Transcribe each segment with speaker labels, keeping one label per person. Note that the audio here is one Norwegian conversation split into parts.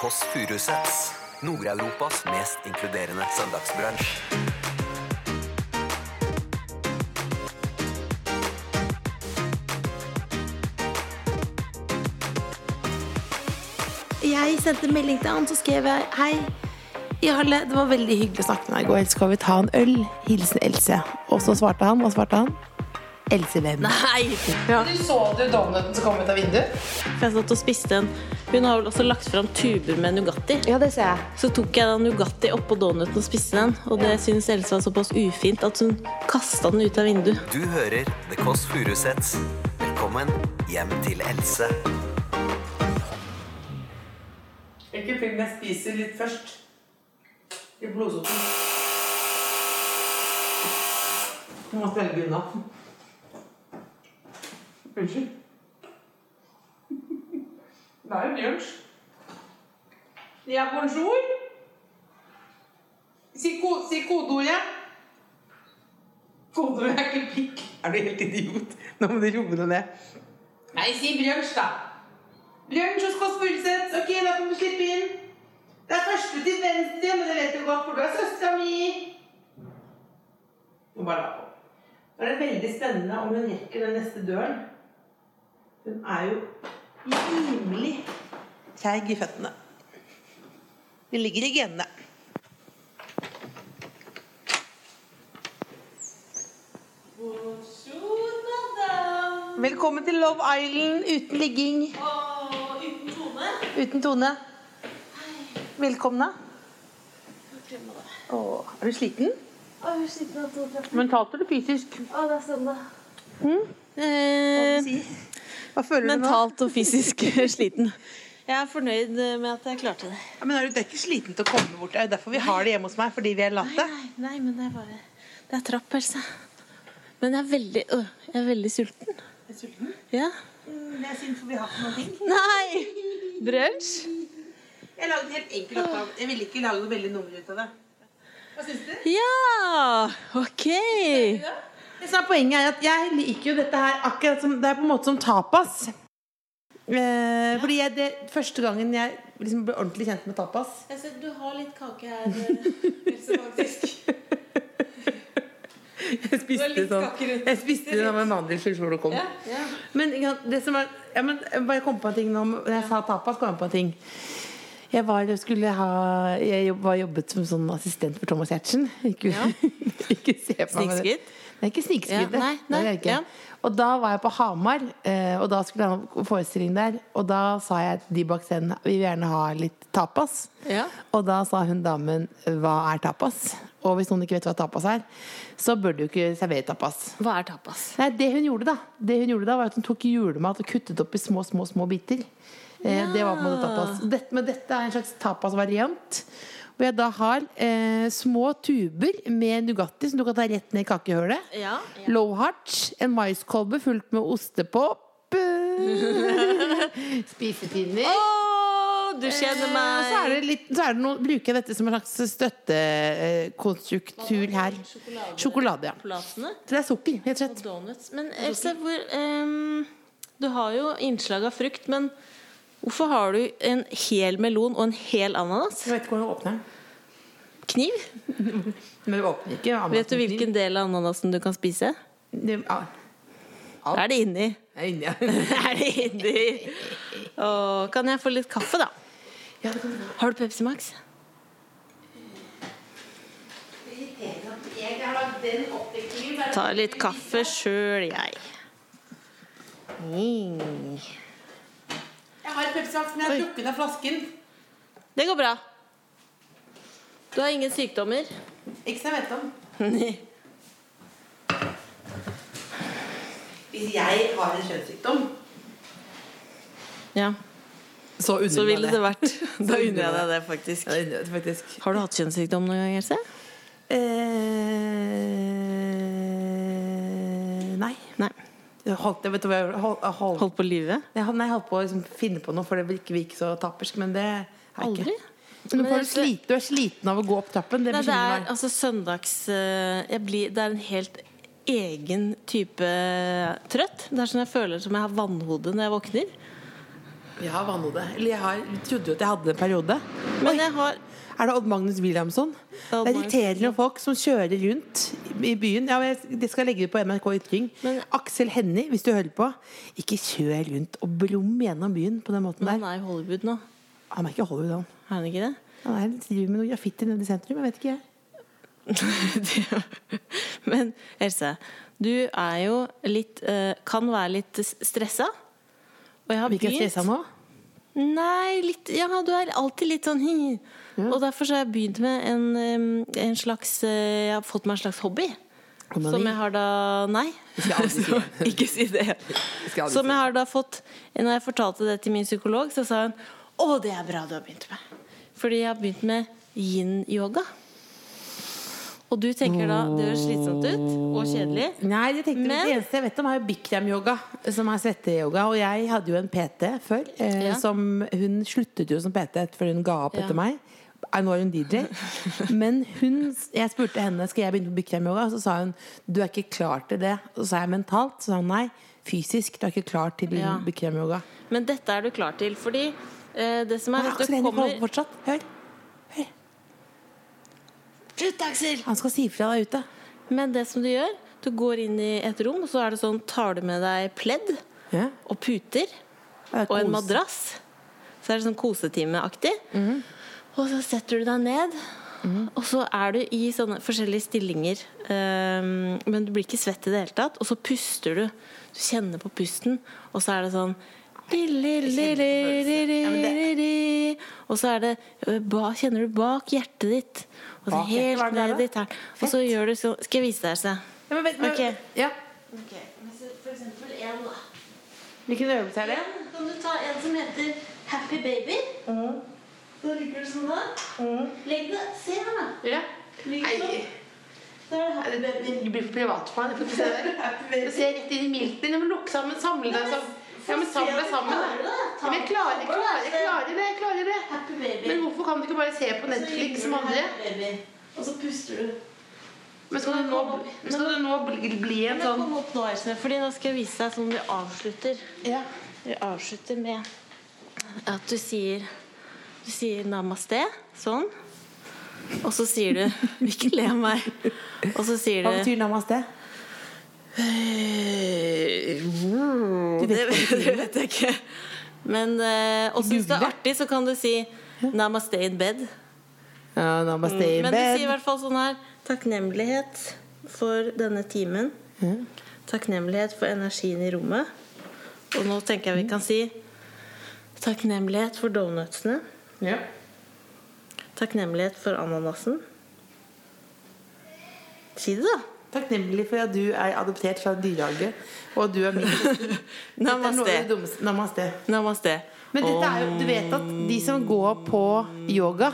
Speaker 1: Kåss Furuseths. Nord-Europas mest inkluderende søndagsbransj.
Speaker 2: Jeg sendte melding til han, så skrev jeg Hei, i Halle, det var veldig hyggelig å snakke med deg i går. Skal vi ta en øl? Hilsen Else. Og så svarte han. Hva svarte han? Else hvem? Nei! Ja.
Speaker 3: Så du donuten som kom ut av vinduet?
Speaker 4: For jeg satt og spiste en Hun har vel også lagt fram tuber med Nugatti.
Speaker 3: Ja, det ser jeg.
Speaker 4: Så tok jeg den Nugatti oppå donuten og spiste den. Og det syntes Else var såpass ufint at hun kasta den ut av vinduet.
Speaker 1: Du hører The Kåss Furuseths. Velkommen hjem til Else.
Speaker 5: Ikke film, jeg spiser litt først. I blodsoppen. Jeg måtte velge unna. Unnskyld. Det er en lunsj. Ja, bonjour. Si, ko si kodeordet. Kodeordet er ikke pikk. Er du helt idiot? Nå må du roe deg ned. Nei, si brunsj, da. Lunsj hos Kåss Furuseth. Ok, da kan du slippe inn. Det er første til venstre, men det vet du godt, for du er søstera mi. Hun bare la på. Nå er det veldig spennende om hun rekker den neste døren. Hun er jo rimelig treig i føttene. Det ligger i genene.
Speaker 4: Bonjour, madame.
Speaker 5: Velkommen til Love Island uten ligging,
Speaker 4: Og uten tone.
Speaker 5: uten Tone. Velkomne. Åh, er du sliten? Mentalt eller fysisk? Hva føler du nå?
Speaker 4: Eh, mentalt og fysisk sliten. Jeg er fornøyd med at jeg klarte det.
Speaker 5: Ja, Men er du, det er ikke sliten til å komme bort. Det er jo derfor vi har det hjemme hos meg. Fordi vi er late.
Speaker 4: Nei, nei, men det er bare Det er trapp, Else. Men jeg er veldig øh, Jeg er veldig sulten.
Speaker 5: Er du sulten? Mm,
Speaker 4: Ja.
Speaker 5: Det er synd, for vi har ikke noe ting.
Speaker 4: Nei! Brunsj?
Speaker 5: Jeg lagde en helt enkel oppgave. Jeg ville ikke lage noe veldig nummer ut av det. Hva syns du?
Speaker 4: Ja! OK.
Speaker 5: Det som er poenget, er at jeg liker jo dette her akkurat som Det er på en måte som tapas. Eh, fordi jeg, det, første gangen jeg liksom ble ordentlig kjent med tapas
Speaker 4: Jeg ser du har litt kake her, eh, Else, faktisk.
Speaker 5: Jeg spiste
Speaker 4: litt
Speaker 5: sånn
Speaker 4: kake rundt.
Speaker 5: Jeg spiste det med mandelfull før du kom. Men ikke sant, det som er ja, men Jeg bare kom på en ting nå om- Når jeg sa tapas, kom jeg på en ting. Jeg var, jeg skulle ha, jeg jobb, var jobbet som sånn assistent for Thomas Giertsen. Ikke, ikke se på meg med det.
Speaker 4: Snikskritt?
Speaker 5: Nei, ikke snikskritt.
Speaker 4: Ja, nei, nei,
Speaker 5: det er det ikke.
Speaker 4: ja.
Speaker 5: Og da var jeg på Hamar, eh, og da skulle jeg ha forestilling der. Og da sa jeg til de bak scenen vi vil gjerne ha litt tapas.
Speaker 4: Ja.
Speaker 5: Og da sa hun damen hva er tapas? Og hvis noen ikke vet hva tapas er, så bør du ikke servere tapas.
Speaker 4: Hva er tapas?
Speaker 5: Nei, det hun gjorde da Det hun gjorde da var at hun tok julemat og kuttet opp i små, små, små biter eh, Det var på en måte tapas dette, Men dette er en slags tapasvariant Hvor jeg da har eh, små tuber med Nugatti Som du kan ta rett ned i kakehølet
Speaker 4: Ja.
Speaker 5: Low heart, en maiskolbe fullt med ostepopp eh, Spisepinner
Speaker 4: Å, du kjenner
Speaker 5: Eh,
Speaker 4: meg.
Speaker 5: Så, er det litt, så er det noe, bruker jeg dette som en slags støttekonstruktur her
Speaker 4: Sjokolade.
Speaker 5: Sjokolade, ja
Speaker 4: Platene
Speaker 5: Så det er sukker, helt
Speaker 4: og
Speaker 5: slett
Speaker 4: donuts. Men Else, hvor ehm, Du har jo innslag av frukt, men hvorfor har du en hel melon og en hel ananas?
Speaker 5: Jeg vet ikke hvordan å åpne den
Speaker 4: Kniv?
Speaker 5: Men du åpner ikke ananasen.
Speaker 4: Vet du hvilken del av ananasen du kan spise?
Speaker 5: Det, ja,
Speaker 4: Da er det inni.
Speaker 5: jeg er inni.
Speaker 4: Da er det inni. Å, kan jeg få litt kaffe, da?
Speaker 5: Ja, det kan du.
Speaker 4: Har du Pepsi Max? Ta litt kaffe sjøl, jeg. Mm.
Speaker 5: Jeg har et pepsivaks, men jeg har drukket av flasken.
Speaker 4: Det går bra. Du har ingen sykdommer.
Speaker 5: Ikke som jeg vet om.
Speaker 4: Nei,
Speaker 5: Hvis jeg har en kjønnssykdom
Speaker 4: Ja,
Speaker 5: Så
Speaker 4: så ville det vært Da
Speaker 5: unner
Speaker 4: unner jeg
Speaker 5: jeg
Speaker 4: deg det, faktisk.
Speaker 5: det faktisk.
Speaker 4: Har du hatt kjønnssykdom noen gang, Else?
Speaker 5: Eh, nei.
Speaker 4: Nei.
Speaker 5: Jeg Holdt, jeg vet du hva jeg hold, jeg hold,
Speaker 4: Holdt på livet?
Speaker 5: Jeg hadde- Nei, jeg holdt på å liksom finne på noe, for det vil ikke virke så tapersk. Men det er jeg
Speaker 4: Aldri.
Speaker 5: ikke. Men
Speaker 4: Men
Speaker 5: du, får
Speaker 4: Else-
Speaker 5: slite, du er sliten av å gå opp trappen. Det
Speaker 4: Nei, det
Speaker 5: bekymrer
Speaker 4: er
Speaker 5: meg.
Speaker 4: altså søndags eh, jeg blir, Det er en helt eh, egen type trøtt. Det er sånn jeg føler som jeg har vannhode når jeg våkner.
Speaker 5: Jeg har vannhode. Eller jeg har, trodde jo at jeg hadde det en periode.
Speaker 4: Men jeg har
Speaker 5: Er det Odd Magnus Williamson?
Speaker 4: Odd
Speaker 5: det
Speaker 4: Magnus
Speaker 5: irriterer noen folk som kjører rundt i byen. Ja, men jeg, det skal jeg legge ut på NRK Ytring.
Speaker 4: Men-
Speaker 5: Aksel Hennie, hvis du hører på, ikke kjør rundt og brum gjennom byen på den måten
Speaker 4: Han
Speaker 5: der.
Speaker 4: er i Hollywood nå.
Speaker 5: Han er ikke Hollywood, han.
Speaker 4: Er han ikke det?
Speaker 5: Han er, driver med noe graffiti nede i sentrum. Jeg vet ikke, jeg.
Speaker 4: Det- Men Else, du er jo litt eh, Kan være litt s- stressa. Og jeg har
Speaker 5: Virker jeg
Speaker 4: begynt-
Speaker 5: stressa nå?
Speaker 4: Nei, litt Ja, du er alltid litt sånn hi. Og derfor så har jeg begynt med en, em, en slags eh, Jeg har fått meg en slags hobby.
Speaker 5: Onani?
Speaker 4: Som jeg har da Nei.
Speaker 5: skal aldri si
Speaker 4: Så, ikke si det.
Speaker 5: skal aldri
Speaker 4: Som
Speaker 5: si.
Speaker 4: jeg har da fått Når jeg fortalte det til min psykolog, så sa hun Å, det er bra du har begynt med. Fordi jeg har begynt med yin-yoga. Og du tenker da det høres slitsomt ut og kjedelig.
Speaker 5: Nei, jeg tenkte,
Speaker 4: Men-
Speaker 5: Det eneste jeg vet om, er jo Bikram-yoga, som er svetteyoga. Og jeg hadde jo en PT før. Eh,
Speaker 4: Ja.
Speaker 5: som Hun sluttet jo som PT før hun ga opp
Speaker 4: Ja.
Speaker 5: etter meg. Eh, Nå er hun DJ. Men hun, jeg spurte henne Skal jeg begynne på Bikram-yoga. Og så sa hun du er ikke klar til det. Og så sa jeg mentalt. Så sa hun nei, fysisk. Du er ikke klar til
Speaker 4: Ja.
Speaker 5: Bikram-yoga.
Speaker 4: Men dette er du klar til. Fordi eh, det som er
Speaker 5: Men
Speaker 4: at
Speaker 5: Aksel
Speaker 4: du
Speaker 5: Hennie
Speaker 4: kommer
Speaker 5: får fortsatt. Hør.
Speaker 4: Slutt, Aksel!
Speaker 5: Han skal si fra der ute.
Speaker 4: Men det som du gjør, du går inn i et rom, og så er det sånn, tar du med deg pledd
Speaker 5: Ja.
Speaker 4: og puter
Speaker 5: Ja,
Speaker 4: og en
Speaker 5: kos.
Speaker 4: madrass. Så er det sånn kosetimeaktig.
Speaker 5: Mhm.
Speaker 4: Og så setter du deg ned, og så er du i sånne forskjellige stillinger. Ehm, men du blir ikke svett i det hele tatt. Og så puster du. Du kjenner på pusten, og så er det sånn og så er det ø, ba, Kjenner du bak hjertet ditt? Og så
Speaker 5: Bak hjertet, hva er
Speaker 4: helt
Speaker 5: det der,
Speaker 4: ned
Speaker 5: da?
Speaker 4: dit her. Og så gjør du sånn Skal jeg vise deg, Else?
Speaker 5: Ja, men vent, men,
Speaker 4: Ok.
Speaker 5: ja.
Speaker 4: For eksempel en, da.
Speaker 5: Hvilken øvelse er det?
Speaker 4: Kan du ta en som heter Happy Baby?
Speaker 3: Mm.
Speaker 4: Da ligger du sånn der. Legg det Se her, da.
Speaker 5: Ja.
Speaker 4: Ligg sånn. Da er det Happy Baby.
Speaker 5: Det blir privat for meg. Du ser rett inn i milten din. Men lukk sammen, samle deg sammen. Ja, men samle deg sammen. da.
Speaker 4: Klarer du det? Ta
Speaker 5: Ja, men jeg klarer, jeg
Speaker 4: den
Speaker 5: klarer, jeg
Speaker 4: sammen,
Speaker 5: klarer det. jeg klarer det.
Speaker 4: Happy Baby.
Speaker 5: Men hvorfor kan du ikke bare se på
Speaker 4: da. Så ligger
Speaker 5: Netflix som
Speaker 4: du
Speaker 5: andre?
Speaker 4: Happy Baby. Og så puster du.
Speaker 5: Men skal du nå, skal du nå bli, bli en
Speaker 4: Men
Speaker 5: sånn
Speaker 4: kom opp nå, Elsene, fordi nå skal jeg vise deg sånn vi avslutter.
Speaker 5: Ja.
Speaker 4: Vi avslutter med at du sier Du sier namaste, sånn. Og så sier du Ikke le av meg. Og så sier du
Speaker 5: namaste?
Speaker 4: det, det vet jeg ikke. Men eh, og syns du det er artig, så kan du si namaste in bed.
Speaker 5: Ja, namaste i
Speaker 4: Mm, Men du sier i
Speaker 5: bed.
Speaker 4: hvert fall sånn her Takknemlighet for denne timen. Takknemlighet for energien i rommet. Og nå tenker jeg vi kan si takknemlighet for donutsene.
Speaker 5: Ja.
Speaker 4: Takknemlighet for ananasen. Si det, da.
Speaker 5: Takknemlig for at du er adoptert fra dyrehage, og at du er min. Dette er noe av det
Speaker 4: Namaste.
Speaker 5: dummeste- Namaste.
Speaker 4: Namaste.
Speaker 5: Men dette er jo, du vet at de som går på yoga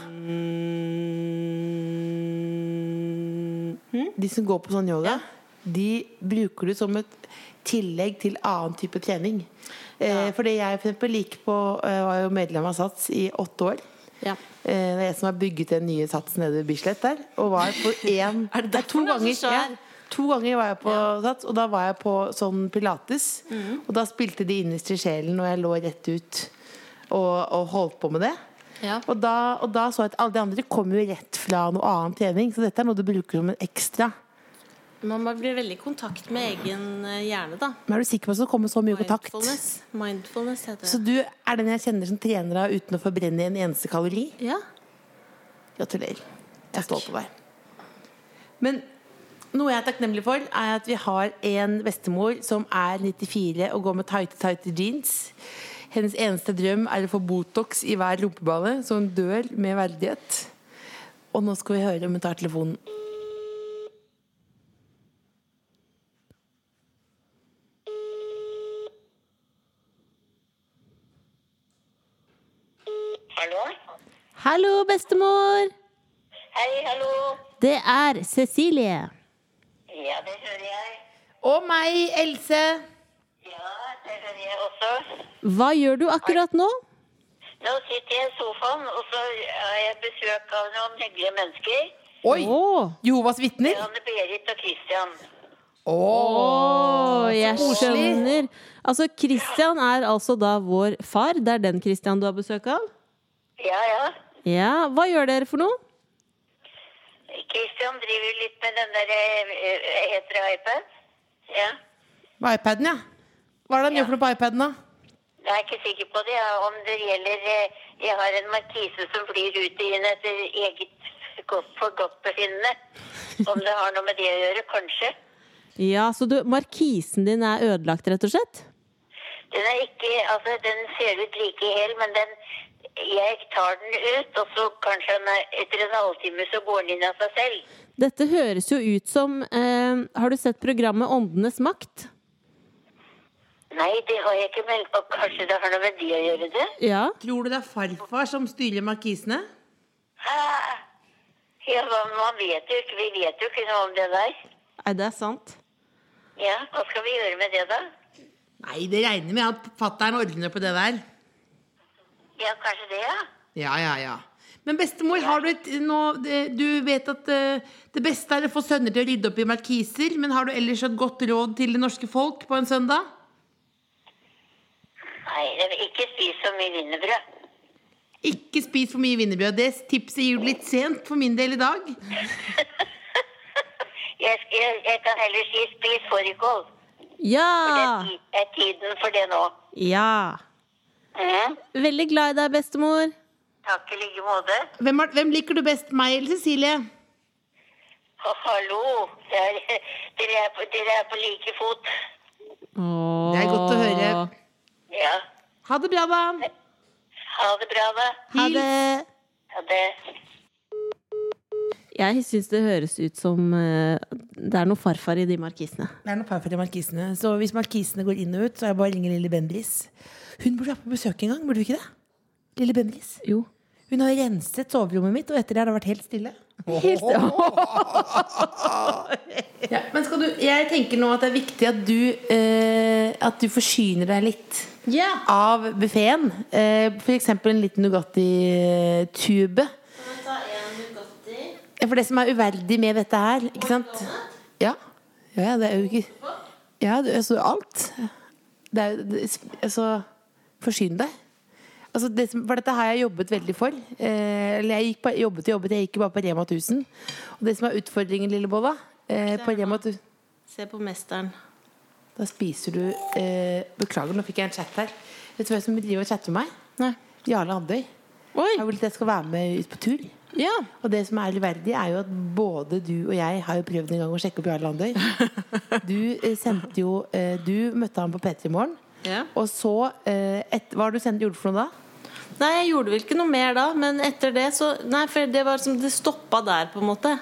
Speaker 5: De som går på sånn yoga, de bruker det som et tillegg til annen type trening. Eh, fordi jeg for eksempel gikk på eh, var jo medlem av SATS i åtte år.
Speaker 4: Ja.
Speaker 5: Eh, det er jeg som har bygget den nye SATS nede ved Bislett der. Og var på én
Speaker 4: Er det
Speaker 5: Nei, to
Speaker 4: derfor den er så
Speaker 5: ganger.
Speaker 4: svær?
Speaker 5: Ja, to ganger var jeg på SATS, og da var jeg på sånn pilates.
Speaker 4: Mm.
Speaker 5: Og da spilte de innerst i sjelen, og jeg lå rett ut og, og holdt på med det.
Speaker 4: Ja.
Speaker 5: Og, da, og da så jeg at alle de andre kom jo rett fra noe annen trening, så dette er noe du bruker som en ekstra.
Speaker 4: Man blir veldig i kontakt med egen eh, hjerne, da.
Speaker 5: Men er du sikker på at det kommer så mye kontakt?
Speaker 4: Mindfulness. Mindfulness heter det.
Speaker 5: Så du er den jeg kjenner som trener av uten å forbrenne en eneste kalori?
Speaker 4: Ja.
Speaker 5: Gratulerer. Jeg er stolt av deg. Men noe jeg er takknemlig for, er at vi har en bestemor som er 94 og går med tighte, tighte jeans. Hennes eneste drøm er å få Botox i hver rumpeballe, så hun dør med verdighet. Og nå skal vi høre om hun tar telefonen.
Speaker 6: Hallo?
Speaker 4: Hallo, bestemor!
Speaker 6: Hei, hallo.
Speaker 4: Det er Cecilie.
Speaker 6: Ja, det hører jeg.
Speaker 5: Og meg, Else!
Speaker 6: Ja, det hører jeg også.
Speaker 4: Hva gjør du akkurat nå?
Speaker 6: Nå sitter jeg i sofaen, og så har jeg besøk av noen hyggelige mennesker.
Speaker 5: Oi!
Speaker 4: Å,
Speaker 5: Jehovas vitner?
Speaker 6: Anne Berit og Christian.
Speaker 5: Åh,
Speaker 4: jeg skjønner. Altså, Christian er altså da vår far. Det er den Christian du har besøk av?
Speaker 6: Ja, ja.
Speaker 4: Ja. Hva gjør dere for noe?
Speaker 6: Christian driver jo litt med den der eh, eh, Heter det iPad? Ja.
Speaker 3: På iPaden, ja. Hva er det han gjør for noe på iPaden, da?
Speaker 6: Jeg er ikke sikker på det, ja, om det gjelder eh, Jeg har en markise som flyr ut i henne etter eget godt- forgodtbefinnende. Om det har noe med det å gjøre, kanskje.
Speaker 4: Ja, så du, Markisen din er ødelagt, rett og slett?
Speaker 6: Den er ikke Altså, den ser ut like hel, men den Jeg tar den ut, og så kanskje han er, etter en halvtime så går den inn av seg selv.
Speaker 4: Dette høres jo ut som eh, Har du sett programmet Åndenes makt?
Speaker 6: Nei, det har jeg ikke meldt opp. Kanskje det har noe med det å gjøre, det?
Speaker 4: Ja.
Speaker 3: Tror du det er farfar som styrer markisene?
Speaker 6: Ah, Ja, hva- man vet jo ikke, Vi vet jo ikke noe om det der.
Speaker 4: Nei, det er sant.
Speaker 6: Ja, Hva skal vi gjøre med det, da?
Speaker 3: Nei, det regner med at fattern ordner på det der.
Speaker 6: Ja, kanskje det, ja.
Speaker 3: Ja, ja, ja. Men bestemor, har du et nå, det- Du vet at eh, det beste er å få sønner til å rydde opp i markiser, men har du ellers et godt råd til det norske folk på en søndag?
Speaker 6: Nei, det- ikke spis så mye wienerbrød.
Speaker 3: Ikke spis for mye wienerbrød. Det tipset gir du litt sent for min del i dag.
Speaker 6: Jeg, sk- jeg, jeg kan heller si spis fårikål. Det er,
Speaker 4: Ja!
Speaker 6: ti- er tiden for det nå.
Speaker 4: Ja.
Speaker 6: Mhm.
Speaker 4: Veldig glad i deg, bestemor.
Speaker 6: Takk i like måte.
Speaker 3: Hvem, er, hvem liker du best, meg eller Cecilie?
Speaker 6: Å, hallo! Det er- Dere er, på- dere er på like fot.
Speaker 4: Åh.
Speaker 3: Det er godt å høre.
Speaker 6: Ja.
Speaker 3: Ha det bra, da.
Speaker 6: Ha det bra, da.
Speaker 4: Ha det.
Speaker 6: Ha det.
Speaker 4: Jeg syns det høres ut som eh, det er noe farfar i de markisene.
Speaker 3: Det er noe par for de markisene. Så hvis markisene går inn og ut, så er det bare å ringe lille Bendris. Hun burde vært på besøk en gang, burde du ikke det? Lille Bendris.
Speaker 4: Jo.
Speaker 3: Hun har renset soverommet mitt, og etter det har det vært helt stille. ja, men skal du, jeg tenker nå at det er viktig at du, eh, at du forsyner deg litt av buffeen. Eh, for eksempel en liten Nugatti-tube. Ja, for det som er uverdig med dette her, ikke sant? Ja, ja ja, det er jo ikke Ja, det, altså alt. Det er jo det- Altså, forsyn deg. Altså, det som, for dette har jeg jobbet veldig for. Eh, eller jeg gikk på, jobbet og jobbet, jeg gikk bare på Rema 1000. Og det som er utfordringen, Lillebolla eh, På Rema 1000
Speaker 4: Se på mesteren.
Speaker 3: Da spiser du eh, Beklager, nå fikk jeg en chat her. Vet du hvem som driver og chatter med meg?
Speaker 4: Nei.
Speaker 3: Jarle Andøy.
Speaker 4: Oi!
Speaker 3: Jeg vil at jeg skal være med ut på tur.
Speaker 4: Ja.
Speaker 3: Og det som er uverdig, er jo at både du og jeg har jo prøvd en gang å sjekke opp Jarle Andøy. Du eh, sendte jo eh, Du møtte ham på P3 Morgen.
Speaker 4: Ja.
Speaker 3: Og så eh, et, Hva har du sendt gjorde for noe da?
Speaker 4: Nei, jeg gjorde vel ikke noe mer da, men etter det så Nei, for det var som det stoppa der, på en måte.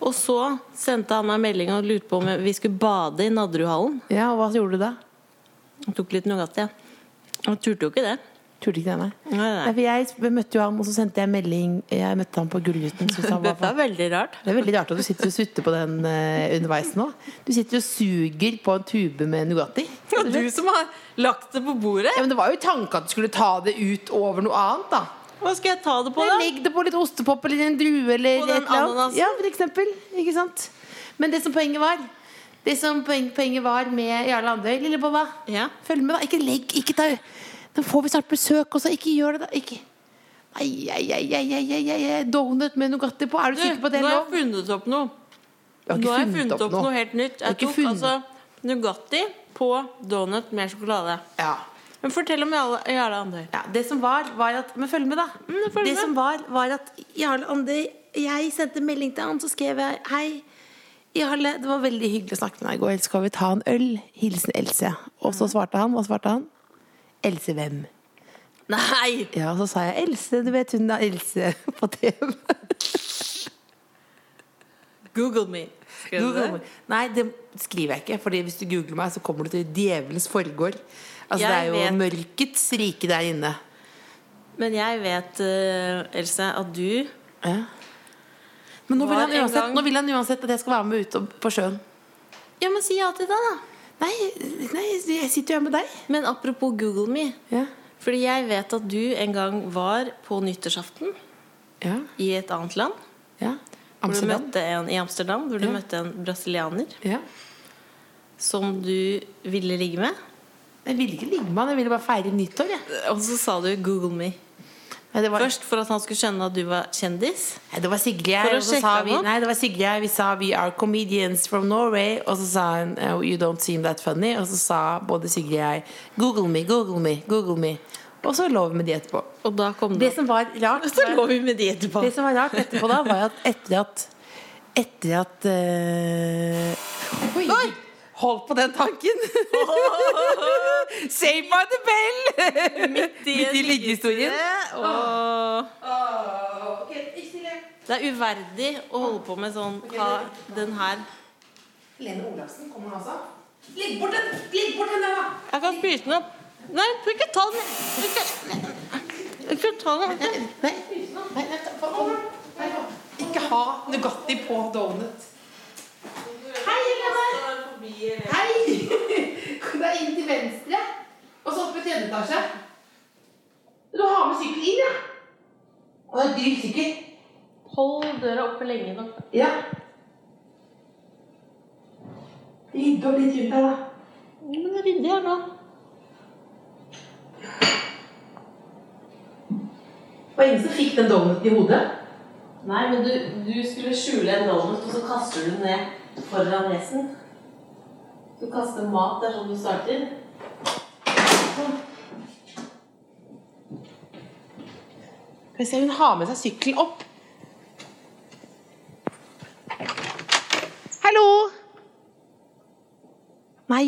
Speaker 4: Og så sendte han meg melding og lurte på om vi skulle bade i Nadderudhallen.
Speaker 3: Ja, og hva gjorde du da?
Speaker 4: Jeg Tok litt Nugatti. Han turte jo ikke det.
Speaker 3: Turte ikke det, nei.
Speaker 4: Nei, nei.
Speaker 3: Nei, for jeg møtte jo ham, og så sendte jeg melding. Jeg møtte ham på Gullruten. syntes han var
Speaker 4: Dette er veldig rart.
Speaker 3: Det er veldig rart at du sitter og sutter på den eh, underveis nå. Du sitter og suger på en tube med Nugatti.
Speaker 4: Det var du som har lagt det på bordet.
Speaker 3: Ja, men det var jo tanken at du skulle ta det ut over noe annet, da.
Speaker 4: Hva skal jeg ta det på, da?
Speaker 3: Legg det på litt ostepop eller en drue eller
Speaker 4: På
Speaker 3: et
Speaker 4: den
Speaker 3: eller annet.
Speaker 4: ananasen?
Speaker 3: Ja, for eksempel. Ikke sant? Men det som poenget var Det som poen- poenget var med Jarle Andøy, Lillebolla
Speaker 4: Ja.
Speaker 3: Følg med, da. Ikke legg ikke ta. Nå får vi snart besøk også. Ikke gjør det, da. Ikke Ai, ai, ai, ai, ai, ai, ai, ai. Donut med Nugatti på. Er
Speaker 4: Du,
Speaker 3: du, sikker på at det
Speaker 4: nå
Speaker 3: er
Speaker 4: har jeg
Speaker 3: lov?
Speaker 4: funnet opp noe.
Speaker 3: Jeg
Speaker 4: Nå har jeg funnet opp noe helt nytt.
Speaker 3: Jeg
Speaker 4: Jeg
Speaker 3: har ikke
Speaker 4: tok
Speaker 3: funnet-
Speaker 4: altså Nugatti på donut med sjokolade.
Speaker 3: Ja.
Speaker 4: Men fortell om Jarle Jarle Andøy.
Speaker 3: Ja, det som var, var at Men Mm, følg med, da.
Speaker 4: jeg følger
Speaker 3: det
Speaker 4: med.
Speaker 3: som var, var at
Speaker 5: Jarle Andøy, jeg sendte melding til han, så skrev jeg Hei, Jarle, det var veldig hyggelig å snakke med deg i går. Skal vi ta en øl? Hilsen Else. Og så svarte han. Hva svarte han? Else hvem?
Speaker 4: Nei!
Speaker 5: Ja, så sa jeg Else. Du vet hun da, Else på TV.
Speaker 4: Google me. Skrev du
Speaker 3: Google
Speaker 4: det?
Speaker 3: Nei, det skriver jeg ikke. Fordi hvis du googler meg, så kommer du til djevelens forgård. Altså, det
Speaker 4: Jeg
Speaker 3: er jo
Speaker 4: vet.
Speaker 3: mørkets rike der inne.
Speaker 4: Men jeg vet, eh, Else, at du
Speaker 3: Men nå vil,
Speaker 4: Var
Speaker 3: han
Speaker 4: en
Speaker 3: uansett,
Speaker 4: gang-
Speaker 3: nå vil han uansett at jeg skal være med ut og- på sjøen.
Speaker 4: Ja, men si ja til det, da.
Speaker 3: Nei, nei jeg sitter jo her med deg.
Speaker 4: Men apropos Google me.
Speaker 3: Ja.
Speaker 4: Fordi jeg vet at du en gang var på nyttårsaften
Speaker 3: Ja.
Speaker 4: i et annet land.
Speaker 3: ja.
Speaker 4: Hvor du
Speaker 3: Amsterdam.
Speaker 4: møtte en, I Amsterdam, hvor du
Speaker 3: Ja.
Speaker 4: møtte en brasilianer
Speaker 3: Ja.
Speaker 4: som du ville ligge med.
Speaker 5: Jeg ville ikke ligge med han, jeg ville bare feire nyttår. Jeg.
Speaker 4: Og så sa du 'Google me'.
Speaker 5: Nei, det var,
Speaker 4: Først for at han skulle skjønne at du var kjendis.
Speaker 5: nei, det var Sigrid
Speaker 4: For
Speaker 5: her,
Speaker 4: å
Speaker 5: og så
Speaker 4: sjekke
Speaker 5: sa
Speaker 4: han
Speaker 5: vi
Speaker 4: opp?
Speaker 5: Nei, det var Sigrid her, vi sa 'We are comedians from Norway', og så sa hun oh, 'You don't seem that funny', og så sa både Sigrid og jeg 'Google me, Google me, Google me', og så lå vi med de etterpå.
Speaker 4: Og da kom
Speaker 5: Det
Speaker 4: det
Speaker 5: som var rart var-
Speaker 4: Så lå vi med de etterpå.
Speaker 5: Det som var rart etterpå da, var at etter at Etter at eh, Oi! Hold på den tanken! Save by the bell! Midt i, liggehistorien.
Speaker 4: Det er uverdig å holde på med sånn ha den her.
Speaker 5: altså.
Speaker 4: Lene Olafsen, kom her altså. Legg bort den, legg bort den der, da! Jeg kan spise den opp. Nei, du ikke ta den. Ikke, ikke ta den.
Speaker 5: Ikke ha Nugatti på donut. Hei, Helene! Hei! Det er inn til venstre, og så opp i tredje etasje. Du har med sykkel inn, ja? Og det er dyr sykkel.
Speaker 4: Hold døra oppe lenge nok.
Speaker 5: Ja. Rydde opp litt rundt her, da.
Speaker 4: Men det er ryddig her nå.
Speaker 5: Det var ingen som fikk den donuten i hodet.
Speaker 4: Nei, men du, skulle skjule en donut, og så kaster du den ned foran nesen. Du kaster mat, det er sånn du starter.
Speaker 5: Skal vi se, hun har med seg sykkelen opp. Hallo! Nei.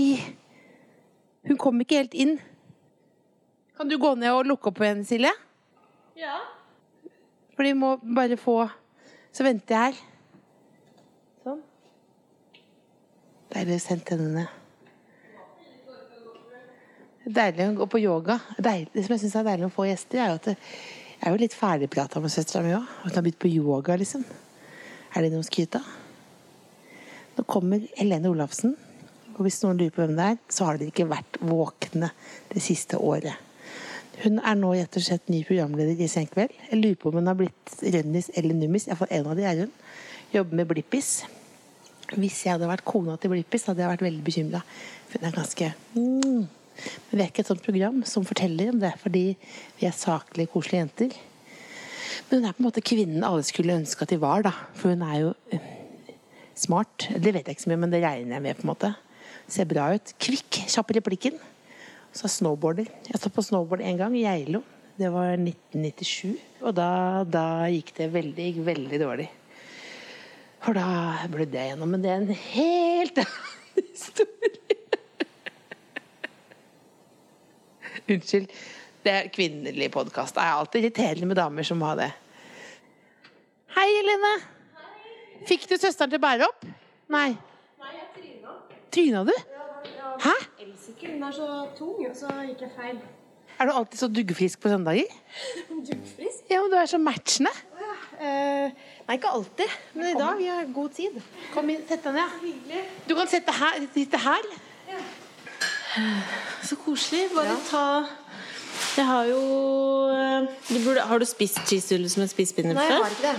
Speaker 5: Hun kom ikke helt inn. Kan du gå ned og lukke opp igjen, Silje?
Speaker 4: Ja.
Speaker 5: For de må bare få Så venter jeg her. Sånn. Deilig å sende henne ned. Deilig å gå på yoga. Deilig, det som jeg syns er deilig å få gjester, er jo at det, jeg er jo litt ferdigprata med søstera mi òg. At hun har begynt på yoga, liksom. Er det noe å skryte av? Nå kommer Helene Olafsen. Og hvis noen lurer på hvem det er, så har dere ikke vært våkne det siste året. Hun er nå rett og slett ny programleder i Senkveld. Jeg lurer på om hun har blitt Rønnis eller Nummis. Iallfall en av de er hun. Jobber med Blippis. Hvis jeg hadde vært kona til Blippis, hadde jeg vært veldig bekymra. For hun er ganske mm. Men vi er ikke et sånt program som forteller om det, fordi vi er saklige, koselige jenter. Men hun er på en måte kvinnen alle skulle ønske at de var, da. For hun er jo smart. Det vet jeg ikke så mye, men det regner jeg med. på en måte. Ser bra ut. Kvikk, kjapp i replikken. Så er snowboarder. Jeg stod på snowboard en gang i Geilo. Det var 1997. Og da, da gikk det veldig, gikk veldig dårlig. For da blødde jeg gjennom. Men det er en helt annen historie. Unnskyld. Det er kvinnelig podkast. Det er alltid irriterende med damer som må ha det. Hei, Helene. Fikk du søsteren til å bære opp? Nei.
Speaker 7: Nei, jeg tryna.
Speaker 5: Tryna du? Hæ?
Speaker 7: Elsykkelen den er så tung, og så gikk jeg feil.
Speaker 5: Er du alltid så duggfrisk på søndager?
Speaker 7: Duggfrisk? Eh,
Speaker 5: Ja, men du er så matchende.
Speaker 7: nei, ikke alltid. Men i dag jeg har god tid.
Speaker 5: Kom inn, sett deg ned. Du kan sette her, sitte her.
Speaker 4: Så koselig. Bare ta Jeg har jo eh, du burde, Har du spist cheesedoodles med spisepinner
Speaker 7: Nei, jeg
Speaker 4: før?
Speaker 7: har ikke det.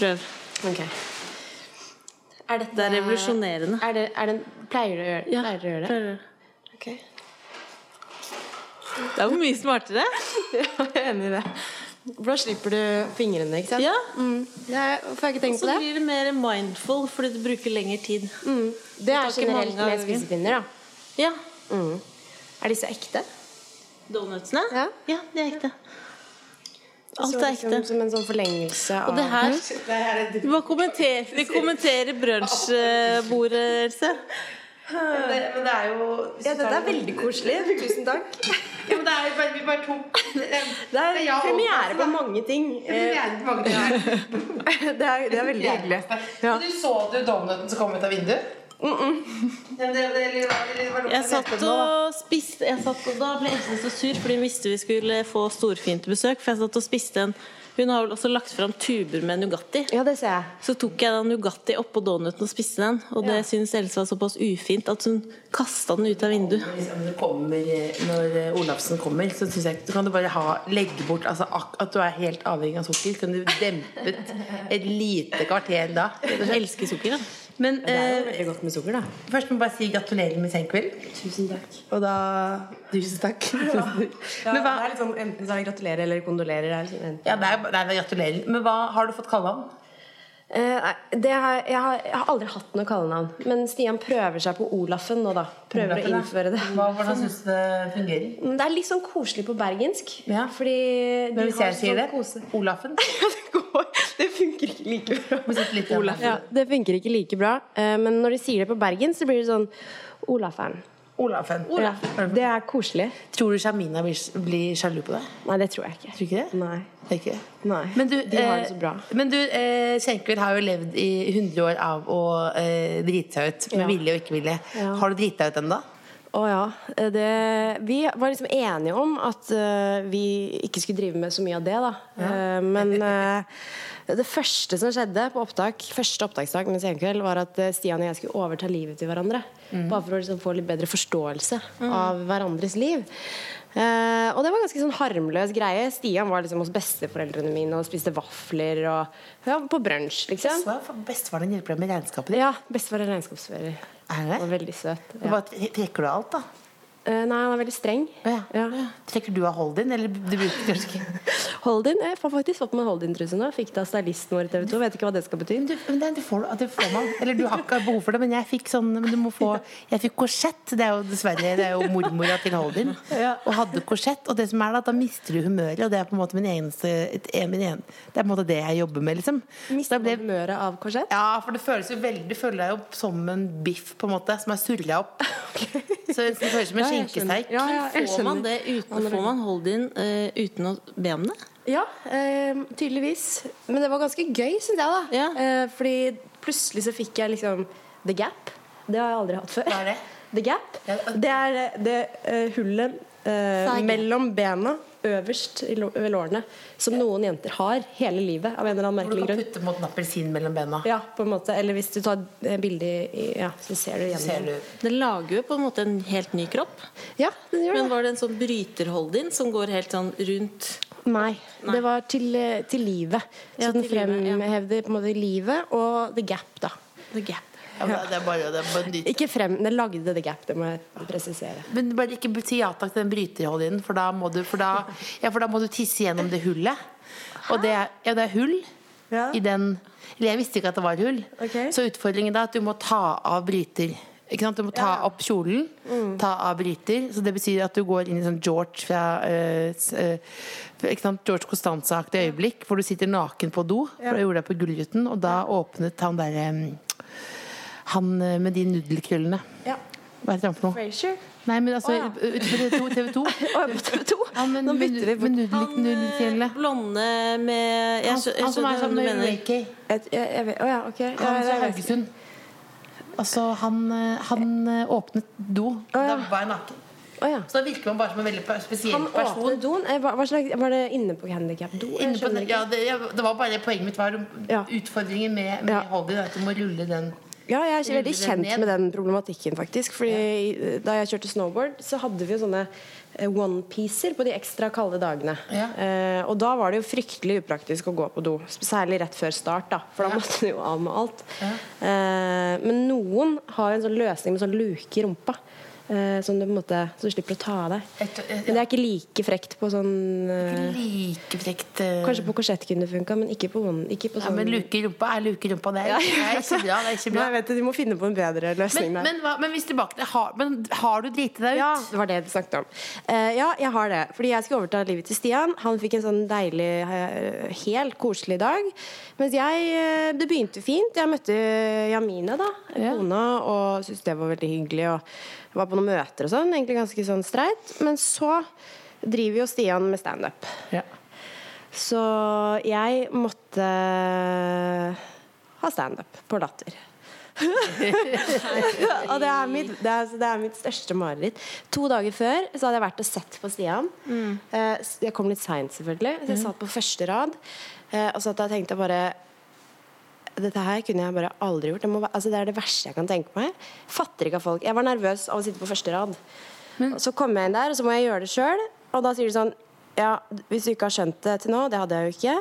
Speaker 4: Prøv.
Speaker 7: Er dette
Speaker 4: Det er revolusjonerende.
Speaker 7: Er det, er det, pleier du å gjøre, pleier dere å gjøre det?
Speaker 4: Prøv.
Speaker 7: Ok.
Speaker 4: Det er jo mye smartere.
Speaker 7: Ja, jeg er enig i det. For da slipper du fingrene, ikke sant?
Speaker 4: Ja.
Speaker 7: Mm. Jeg, hvorfor har jeg ikke tenkt
Speaker 4: Så
Speaker 7: på det?
Speaker 4: blir det mer mindful fordi du bruker lengre tid.
Speaker 7: Mm. Det
Speaker 4: tar
Speaker 7: er
Speaker 4: ikke
Speaker 7: generelt
Speaker 4: mange av
Speaker 7: med spisepinner, da.
Speaker 4: Ja.
Speaker 7: Mm. Er disse ekte?
Speaker 4: Donutsene?
Speaker 7: Ja.
Speaker 4: det er ekte. Alt
Speaker 7: Så
Speaker 4: er
Speaker 7: liksom Mm.
Speaker 4: ekte.
Speaker 7: Som en sånn forlengelse av
Speaker 4: Og det her Vi bare kommenter, vi kommenterer brunsjbordet, Else.
Speaker 5: Eh, Men det er jo
Speaker 7: Ja, dette er veldig koselig. Tusen takk.
Speaker 5: Ja, men det er jo bare, vi bare tok Det er
Speaker 7: Det er
Speaker 5: Ja, og-
Speaker 7: premiere på mange ting. Eh,
Speaker 5: mange ganger.
Speaker 7: Det er, det er veldig hyggelig. Ja.
Speaker 5: Du så du donuten som kom ut av vinduet? Mm -mm.
Speaker 4: Jeg satt og spiste jeg satt, og Da ble Else så sur, fordi hun visste vi skulle få storfint besøk. For jeg satt og spiste en Hun har vel også lagt fram tuber med Nugatti.
Speaker 7: Ja, det ser jeg.
Speaker 4: Så tok jeg den Nugatti oppå donuten og spiste den. Og det syntes Else var såpass ufint at hun kasta den ut av vinduet.
Speaker 5: Når, det kommer, eh, når eh, Olafsen kommer, så synes jeg ikke- så kan du bare ha, legge bort altså, ak, At du er helt avhengig av sukker. Kan du dempet et lite kvarter da?
Speaker 4: Hun elsker sukker, da.
Speaker 3: Men
Speaker 7: Det er jo
Speaker 3: eh,
Speaker 7: veldig godt med sukker, da.
Speaker 3: først må jeg bare si gratulerer med senkveld.
Speaker 7: Tusen takk.
Speaker 3: Og da Tusen takk.
Speaker 7: Ja,
Speaker 3: Men hva,
Speaker 7: det er liksom, enten så er det gratulerer eller kondolerer. Det er liksom enten.
Speaker 3: ja, det er, det er gratulerer. Men hva har du fått kallenavn?
Speaker 7: Eh, nei, det har, jeg, har, jeg har aldri hatt noe kallenavn. Men Stian prøver seg på Olafen nå, da. Prøver å innføre det.
Speaker 3: Hva, hvordan syns du det fungerer?
Speaker 7: Men Det er litt sånn koselig på bergensk.
Speaker 3: Ja.
Speaker 7: Fordi de
Speaker 3: Men hvis
Speaker 7: har
Speaker 3: jeg sier
Speaker 7: sånn
Speaker 3: det?
Speaker 7: kose-
Speaker 3: Olafen?
Speaker 7: Ja, det går. Det funker ikke like
Speaker 3: Må
Speaker 7: bra.
Speaker 3: sitte litt igjen.
Speaker 7: Ja, det funker ikke like bra. Eh, Men når de sier det på Bergen, så blir det sånn Olafern.
Speaker 3: Olafen.
Speaker 7: Ja, det er koselig.
Speaker 3: Tror du Shamina blir, blir sjalu på deg?
Speaker 7: Nei, det tror jeg ikke.
Speaker 3: Tror du ikke det?
Speaker 7: Nei.
Speaker 3: Det er ikke det.
Speaker 7: Nei.
Speaker 3: Men du,
Speaker 7: de har det
Speaker 3: eh,
Speaker 7: så bra.
Speaker 3: Men du, eh, Senkveld har jo levd i 100 år av å eh, drite seg ut. Med
Speaker 7: Ja.
Speaker 3: vilje og ikke vilje.
Speaker 7: Ja.
Speaker 3: Har du driti deg ut ennå?
Speaker 7: Å ja. eh, Det, vi var liksom enige om at eh, vi ikke skulle drive med så mye av det, da. Eh, men eh, det første som skjedde på opptak, første opptaksdag med Senkveld, var at eh, Stian og jeg skulle overta livet til hverandre. Bare for å liksom få litt bedre forståelse av hverandres liv. Eh, og det var ganske sånn harmløs greie. Stian var liksom hos besteforeldrene mine og spiste vafler og ja, på brunsj, liksom.
Speaker 3: Bestefaren din hjelper deg med regnskapet ditt.
Speaker 7: Ja, bestefar er regnskapsfører.
Speaker 3: Er det?
Speaker 7: Han var veldig søt.
Speaker 3: Du
Speaker 7: Ja.
Speaker 3: Bare tre- trekker du av alt, da?
Speaker 7: Eh, nei, han er veldig streng.
Speaker 3: Å Ja.
Speaker 7: Ja.
Speaker 3: Trekker du av hold din, eller du bruker kanskje ikke
Speaker 7: Hold-in? Jeg får faktisk fått meg hold-in-truse nå. Fikk det av stylisten vår i TV 2. Vet ikke hva det skal bety.
Speaker 3: Men du, men det, det får du, det får man. Eller du har ikke behov for det, men jeg fikk sånn men du må få, Jeg fikk korsett. Det er jo dessverre det er jo mormora til Holdin. Og hadde korsett. Og det som er da, at da mister du humøret. Og det er på en måte min eneste et, en- min en, Det er på en måte det jeg jobber med, liksom. Så
Speaker 7: Mista
Speaker 3: da ble,
Speaker 7: humøret av korsett?
Speaker 3: ja, for det føles jo veldig Du føler deg jo som en biff, på en måte, som er surra opp. Så det føles som en
Speaker 7: jeg skjønner.
Speaker 3: skinkesteik.
Speaker 7: Ja, ja, jeg
Speaker 4: Får man
Speaker 7: skjønner.
Speaker 4: det uten, får man hold-in eh, uten å be om det?
Speaker 7: Ja, eh, tydeligvis. Men det var ganske gøy, syns jeg, da.
Speaker 4: Ja.
Speaker 7: Eh, fordi plutselig så fikk jeg liksom The Gap. Det har jeg aldri hatt før.
Speaker 3: Hva er det?
Speaker 7: The Gap.
Speaker 3: Ja, det-
Speaker 7: Det er eh, det eh, hullet eh, mellom bena øverst i lå- ved lårene som noen jenter har hele livet av en eller annen
Speaker 3: Hvor du
Speaker 7: merkelig
Speaker 3: kan
Speaker 7: grunn.
Speaker 3: putte på en måte en appelsin mellom bena.
Speaker 7: Ja, på en måte. Eller hvis du tar eh, bilde i Ja, så ser du
Speaker 3: Ser
Speaker 7: igjen.
Speaker 3: du
Speaker 4: Det lager jo på en måte en helt ny kropp.
Speaker 7: Ja, den gjør det.
Speaker 4: Men var det en sånn bryter-hold-in som går helt sånn rundt
Speaker 7: Nei, det var til, eh, til livet. Så
Speaker 4: Ja,
Speaker 7: den
Speaker 4: til livet, ja.
Speaker 7: fremhevde på en måte livet og The Gap, da.
Speaker 4: the gap?
Speaker 3: ja, men Det er bare, det er bare nytt.
Speaker 7: Ikke frem, den lagde The Gap, det må jeg presisere.
Speaker 3: Men bare ikke si ja takk til den bryterholdningen, for da må du, for da, ja, for da må du tisse gjennom det hullet. Og det er, ja, det er hull
Speaker 7: Ja.
Speaker 3: i den Eller jeg visste ikke at det var hull.
Speaker 7: Ok.
Speaker 3: Så utfordringen da er at du må ta av bryter. Ikke sant? Du må ta opp kjolen,
Speaker 7: Mm.
Speaker 3: ta av bryter. Så det betyr at du går inn i sånn George fra eh, s- eh, ikke sant? George Costanza-aktig øyeblikk, hvor du sitter naken på do. For det gjorde jeg på Gullruten, og da åpnet han derre Han eh, med de nudelkrøllene.
Speaker 7: Ja.
Speaker 3: Hva heter han for noe?
Speaker 7: Frasier?
Speaker 3: Nei, men altså
Speaker 7: ja.
Speaker 3: utenfor TV 2, TV 2
Speaker 7: Å, på TV 2!
Speaker 3: Han med
Speaker 7: Nå bytter vi bort.
Speaker 3: nudelkrille
Speaker 4: eh, Blonde med jeg,
Speaker 3: Han
Speaker 4: skjø- jeg
Speaker 3: han som er
Speaker 4: skjønner
Speaker 3: sammen
Speaker 4: hva du
Speaker 3: med
Speaker 4: mener.
Speaker 3: Reiki
Speaker 7: Et, jeg, jeg vet, å ja, ok. Ja,
Speaker 3: Han
Speaker 7: ja,
Speaker 3: fra
Speaker 7: jeg vet.
Speaker 3: Haugesund Altså han, eh, han eh, åpnet do Da var jeg naken
Speaker 7: Å, ja.
Speaker 3: Så da virker man bare som en veldig pe- spesiell
Speaker 7: Han
Speaker 3: person
Speaker 7: åpnet doen. Eh, Hva, hva slags, var det inne på handikap-do?
Speaker 3: Inne på, den- ja, det, ja, det var bare poenget mitt var
Speaker 7: Ja.
Speaker 3: Utfordringen med, med
Speaker 7: Ja.
Speaker 3: Holly er At du må rulle den
Speaker 7: Ja, jeg er veldig
Speaker 3: Ruller den
Speaker 7: kjent
Speaker 3: ned.
Speaker 7: med den problematikken, faktisk. Fordi eh, Da jeg kjørte snowboard, så hadde vi jo sånne eh, onepiecer på de ekstra kalde dagene.
Speaker 3: Ja.
Speaker 7: Eh, og da var det jo fryktelig upraktisk å gå på do. Særlig rett før start, da. For da måtte du jo av med alt. Eh, men noen har jo en sånn løsning med sånn luke i rumpa. eh, som du på en måte Så du slipper å ta av deg.
Speaker 3: Et- eh, et-
Speaker 7: Men det er ikke like frekt på sånn eh,
Speaker 3: Like frekt eh,
Speaker 7: Kanskje på korsett kunne funka, men ikke på, one, ikke på
Speaker 3: ja,
Speaker 7: sånn
Speaker 3: Men luke i rumpa er luke i rumpa Det er, det er ikke bra, det er ikke
Speaker 7: Nei,
Speaker 3: bra
Speaker 7: jeg vet det, De må finne på en bedre løsning
Speaker 3: Men,
Speaker 7: der.
Speaker 3: men, hva, men hvis tilbake til har, Men har du driti deg ut?
Speaker 7: Ja, det var det du snakket om. Eh, ja, jeg har det. Fordi jeg skulle overta livet til Stian. Han fikk en sånn deilig, eh, helt koselig dag. Mens jeg eh, Det begynte fint. Jeg møtte Jamine, da. Kona. Og syntes det var veldig hyggelig. Og var på noen møter og sånn. Egentlig ganske sånn streit. Men så driver jo Stian med standup.
Speaker 3: Ja.
Speaker 7: Så jeg måtte eh, ha standup på Latter. og det er, mitt, det, er, det er mitt største mareritt. To dager før så hadde jeg vært og sett på Stian. Eh, s- jeg kom litt seint, selvfølgelig. Så jeg satt på første rad. Eh, og så at jeg tenkte bare dette her kunne jeg bare aldri gjort. Det, må, væ- altså, det er det verste jeg kan tenke meg. Fatter ikke av folk. Jeg var nervøs av å sitte på første rad. Og så kommer jeg inn der, og så må jeg gjøre det sjøl. Og da sier de sånn Ja, hvis du ikke har skjønt det til nå, det hadde jeg jo ikke,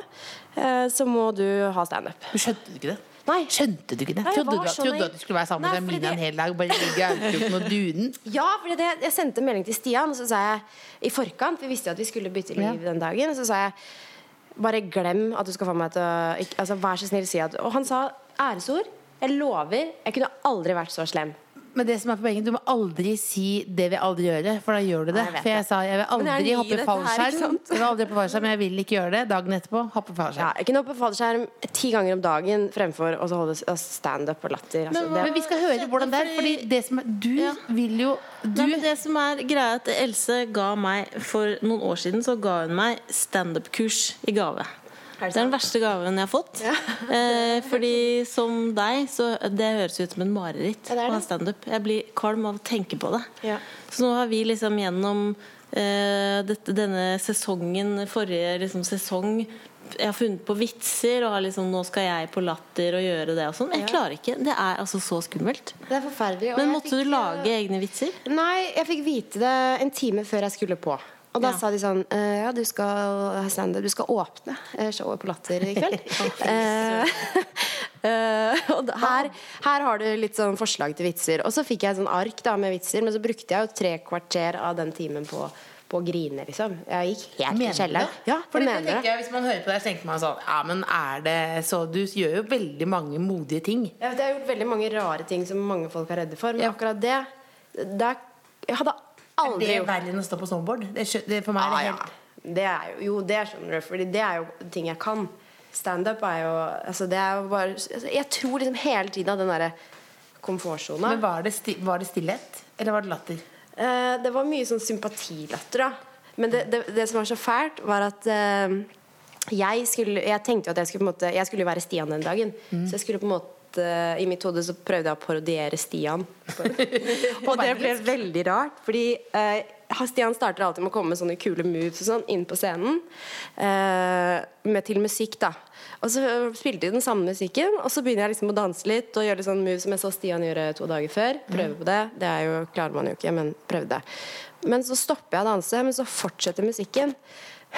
Speaker 7: eh, så må du ha standup.
Speaker 3: Du skjønte ikke det?
Speaker 7: Nei.
Speaker 3: Skjønte du ikke det?
Speaker 7: Nei, jeg
Speaker 3: trodde,
Speaker 7: var
Speaker 3: du,
Speaker 7: så
Speaker 3: trodde du
Speaker 7: naiv.
Speaker 3: at du skulle være sammen
Speaker 7: Nei,
Speaker 3: med
Speaker 7: fordi
Speaker 3: Mina
Speaker 7: det-
Speaker 3: en hel dag? Bare ligge i armkroken og dune?
Speaker 7: Ja, for det, jeg sendte en melding til Stian, og så sa jeg i forkant Vi visste jo at vi skulle bytte liv den dagen. Så sa jeg bare glem at du skal få meg til å ikke, altså, Vær så snill, si at Og han sa æresord. Jeg lover. Jeg kunne aldri vært så slem.
Speaker 3: Men det som er poenget, du må aldri si 'det vil jeg aldri gjøre', for da gjør du det.
Speaker 7: Nei, jeg vet
Speaker 3: for jeg
Speaker 7: det.
Speaker 3: sa 'jeg vil
Speaker 7: Men det er
Speaker 3: aldri
Speaker 7: ny
Speaker 3: hoppe
Speaker 7: dette her, ikke
Speaker 3: fallskjerm'.
Speaker 7: sant?
Speaker 3: Jeg vil aldri hoppe fallskjerm, men jeg vil ikke gjøre det. Dagen etterpå hoppe
Speaker 7: Ja,
Speaker 3: fallskjerm.
Speaker 7: jeg kunne hoppe fallskjerm ti ganger om dagen fremfor å holde s- standup og latter. Altså, det,
Speaker 3: Men vi skal høre hvordan det er, fordi det som er, du vil jo
Speaker 4: Nei,
Speaker 3: Du
Speaker 4: men det som er greia er at Else ga meg For noen år siden så ga hun meg standup-kurs i gave. Det er den verste gaven jeg har fått. Eh, fordi som deg, så det høres ut som en mareritt
Speaker 7: Ja, det er
Speaker 4: å ha
Speaker 7: det.
Speaker 4: standup. Jeg blir kvalm av å tenke på det.
Speaker 7: Ja.
Speaker 4: Så nå har vi liksom gjennom eh, dette, denne sesongen, forrige liksom sesong jeg har funnet på vitser og har liksom, nå skal jeg på latter og gjøre det og sånn. Jeg klarer ikke. Det er altså så skummelt.
Speaker 7: det er forferdelig. og
Speaker 4: Men
Speaker 7: jeg
Speaker 4: måtte du
Speaker 7: fikk, eh,
Speaker 4: lage egne vitser?
Speaker 7: Nei, jeg fikk vite det en time før jeg skulle på. Og da
Speaker 4: Ja.
Speaker 7: sa de sånn eh, Ja, du skal ha standup. Du skal åpne eh, showet på Latter i kveld. Eh, eh, og da- her, her har du litt sånn forslag til vitser. Og så fikk jeg et sånn ark da med vitser, men så brukte jeg jo tre kvarter av den timen på, på å grine, liksom. Jeg gikk helt i
Speaker 3: Mener du
Speaker 7: kjelleren.
Speaker 3: det?
Speaker 7: Ja,
Speaker 3: Fordi
Speaker 7: jeg
Speaker 3: det
Speaker 7: mener
Speaker 3: tenker
Speaker 7: det.
Speaker 3: jeg, Hvis man hører på deg, så tenker man sånn Ja, men er det så Du gjør jo veldig mange modige ting.
Speaker 7: Jeg, vet, jeg har gjort veldig mange rare ting som mange folk er redde for, men akkurat det der, Jeg hadde aldri
Speaker 3: Det er
Speaker 7: gjort
Speaker 3: verre enn å stå på snowboard. Det, skjø- det, for meg er det
Speaker 7: Ja,
Speaker 3: helt
Speaker 7: ja. Det er jo, jo, det skjønner du, Fordi det er jo ting jeg kan. Standup er jo altså det er jo bare altså Jeg tror liksom hele tiden den derre komfortsona.
Speaker 3: Men var det, sti, var det stillhet? Eller var det latter?
Speaker 7: Eh, det var mye sånn sympatilatter, da. Men det, det, det som var så fælt, var at eh, jeg skulle Jeg tenkte jo at jeg skulle på en måte Jeg skulle jo være Stian den dagen. Så jeg skulle på en måte I mitt hode så prøvde jeg å parodiere Stian. og det ble veldig rart, fordi eh, Stian starter alltid med å komme med sånne kule moves og sånn inn på scenen. eh, med til musikk, da. Og så eh, spilte de den samme musikken, og så begynner jeg liksom å danse litt og gjøre litt sånn moves som jeg så Stian gjøre to dager før. Prøve på det. Det er jo, klarer man jo ikke, men prøvde. Men så stopper jeg å danse, men så fortsetter musikken.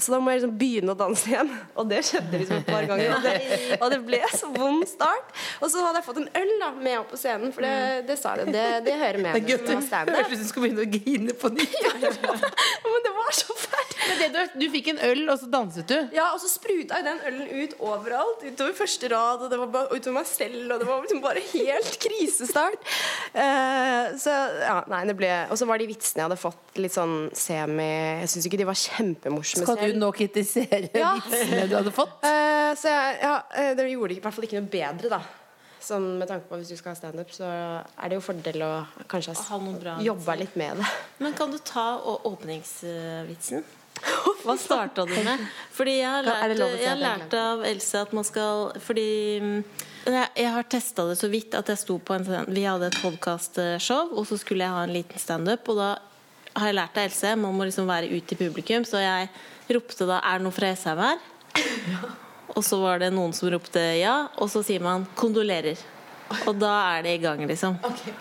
Speaker 7: Så da må jeg liksom begynne å danse igjen. Og det skjedde liksom et par ganger. Og det, og det ble så vond start. Og så hadde jeg fått en øl da med opp på scenen, for det, det sa de. Det, det hører med.
Speaker 3: Det er gøy
Speaker 7: når man
Speaker 3: at du
Speaker 7: standup.
Speaker 3: høres ut som du skal begynne å grine på nytt.
Speaker 7: Men det var så fælt.
Speaker 3: Du, du fikk en øl, og så danset du.
Speaker 7: Ja, og så spruta jo den ølen ut overalt. Utover første rad, og det var bare og utover meg selv, og det var liksom bare helt krisestart. Eh, så ja, nei, det ble Og så var de vitsene jeg hadde fått, litt sånn semi Jeg syns ikke de var kjempemorsomme
Speaker 3: Skal du
Speaker 7: selv.
Speaker 3: nå kritisere
Speaker 7: Ja.
Speaker 3: vitsene du hadde fått?
Speaker 7: Eh, så jeg, ja, eh, det gjorde det i hvert fall ikke noe bedre, da. Sånn med tanke på hvis du skal ha standup, så er det jo fordel å kanskje
Speaker 4: Ha noen bra
Speaker 7: jobbe litt med det.
Speaker 4: Men kan du ta å- åpningsvitsen? Hva starta du med? Fordi jeg har
Speaker 7: Kan- er det
Speaker 4: lært,
Speaker 7: lov å si
Speaker 4: jeg har
Speaker 7: at jeg ikke
Speaker 4: lært av Else at man skal Fordi mm, jeg, jeg har testa det så vidt at jeg sto på en sånn- Vi hadde et podkastshow, og så skulle jeg ha en liten standup. Og da har jeg lært av Else man må liksom være ute i publikum, så jeg ropte da 'Er det noe fra Esheim her?' Og så var det noen som ropte ja, og så sier man 'kondolerer'. Og da er det i gang, liksom.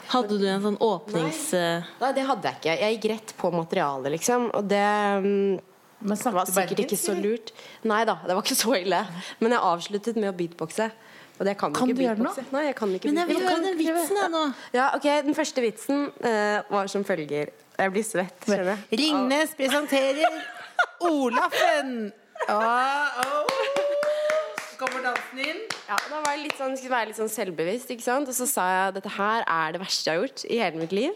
Speaker 4: Hadde du en sånn åpnings...
Speaker 7: Nei, det hadde jeg ikke. Jeg gikk rett på materialet, liksom. Og det mm,
Speaker 3: Men snakket
Speaker 7: var
Speaker 3: du
Speaker 7: sikkert
Speaker 3: bergensk,
Speaker 7: ikke så
Speaker 3: eller?
Speaker 7: lurt. Nei da, det var ikke så ille. Men jeg avsluttet med å beatboxe. Og det kan,
Speaker 3: Kan
Speaker 7: ikke
Speaker 3: du gjøre det nå?
Speaker 7: beatboxe. Nei, jeg kan ikke
Speaker 4: Men jeg vil
Speaker 7: beatboxe.
Speaker 4: høre den vitsen jeg nå.
Speaker 7: Ja, ok, Den første vitsen eh, var som følger. Jeg blir svett, skjønner jeg.
Speaker 3: Ringnes presenterer Olafen. Ah, oh. Så Kommer dansen inn?
Speaker 7: Ja, da var jeg litt sånn, skulle være litt sånn selvbevisst, ikke sant? Og så sa jeg dette her er det verste jeg har gjort i hele mitt liv.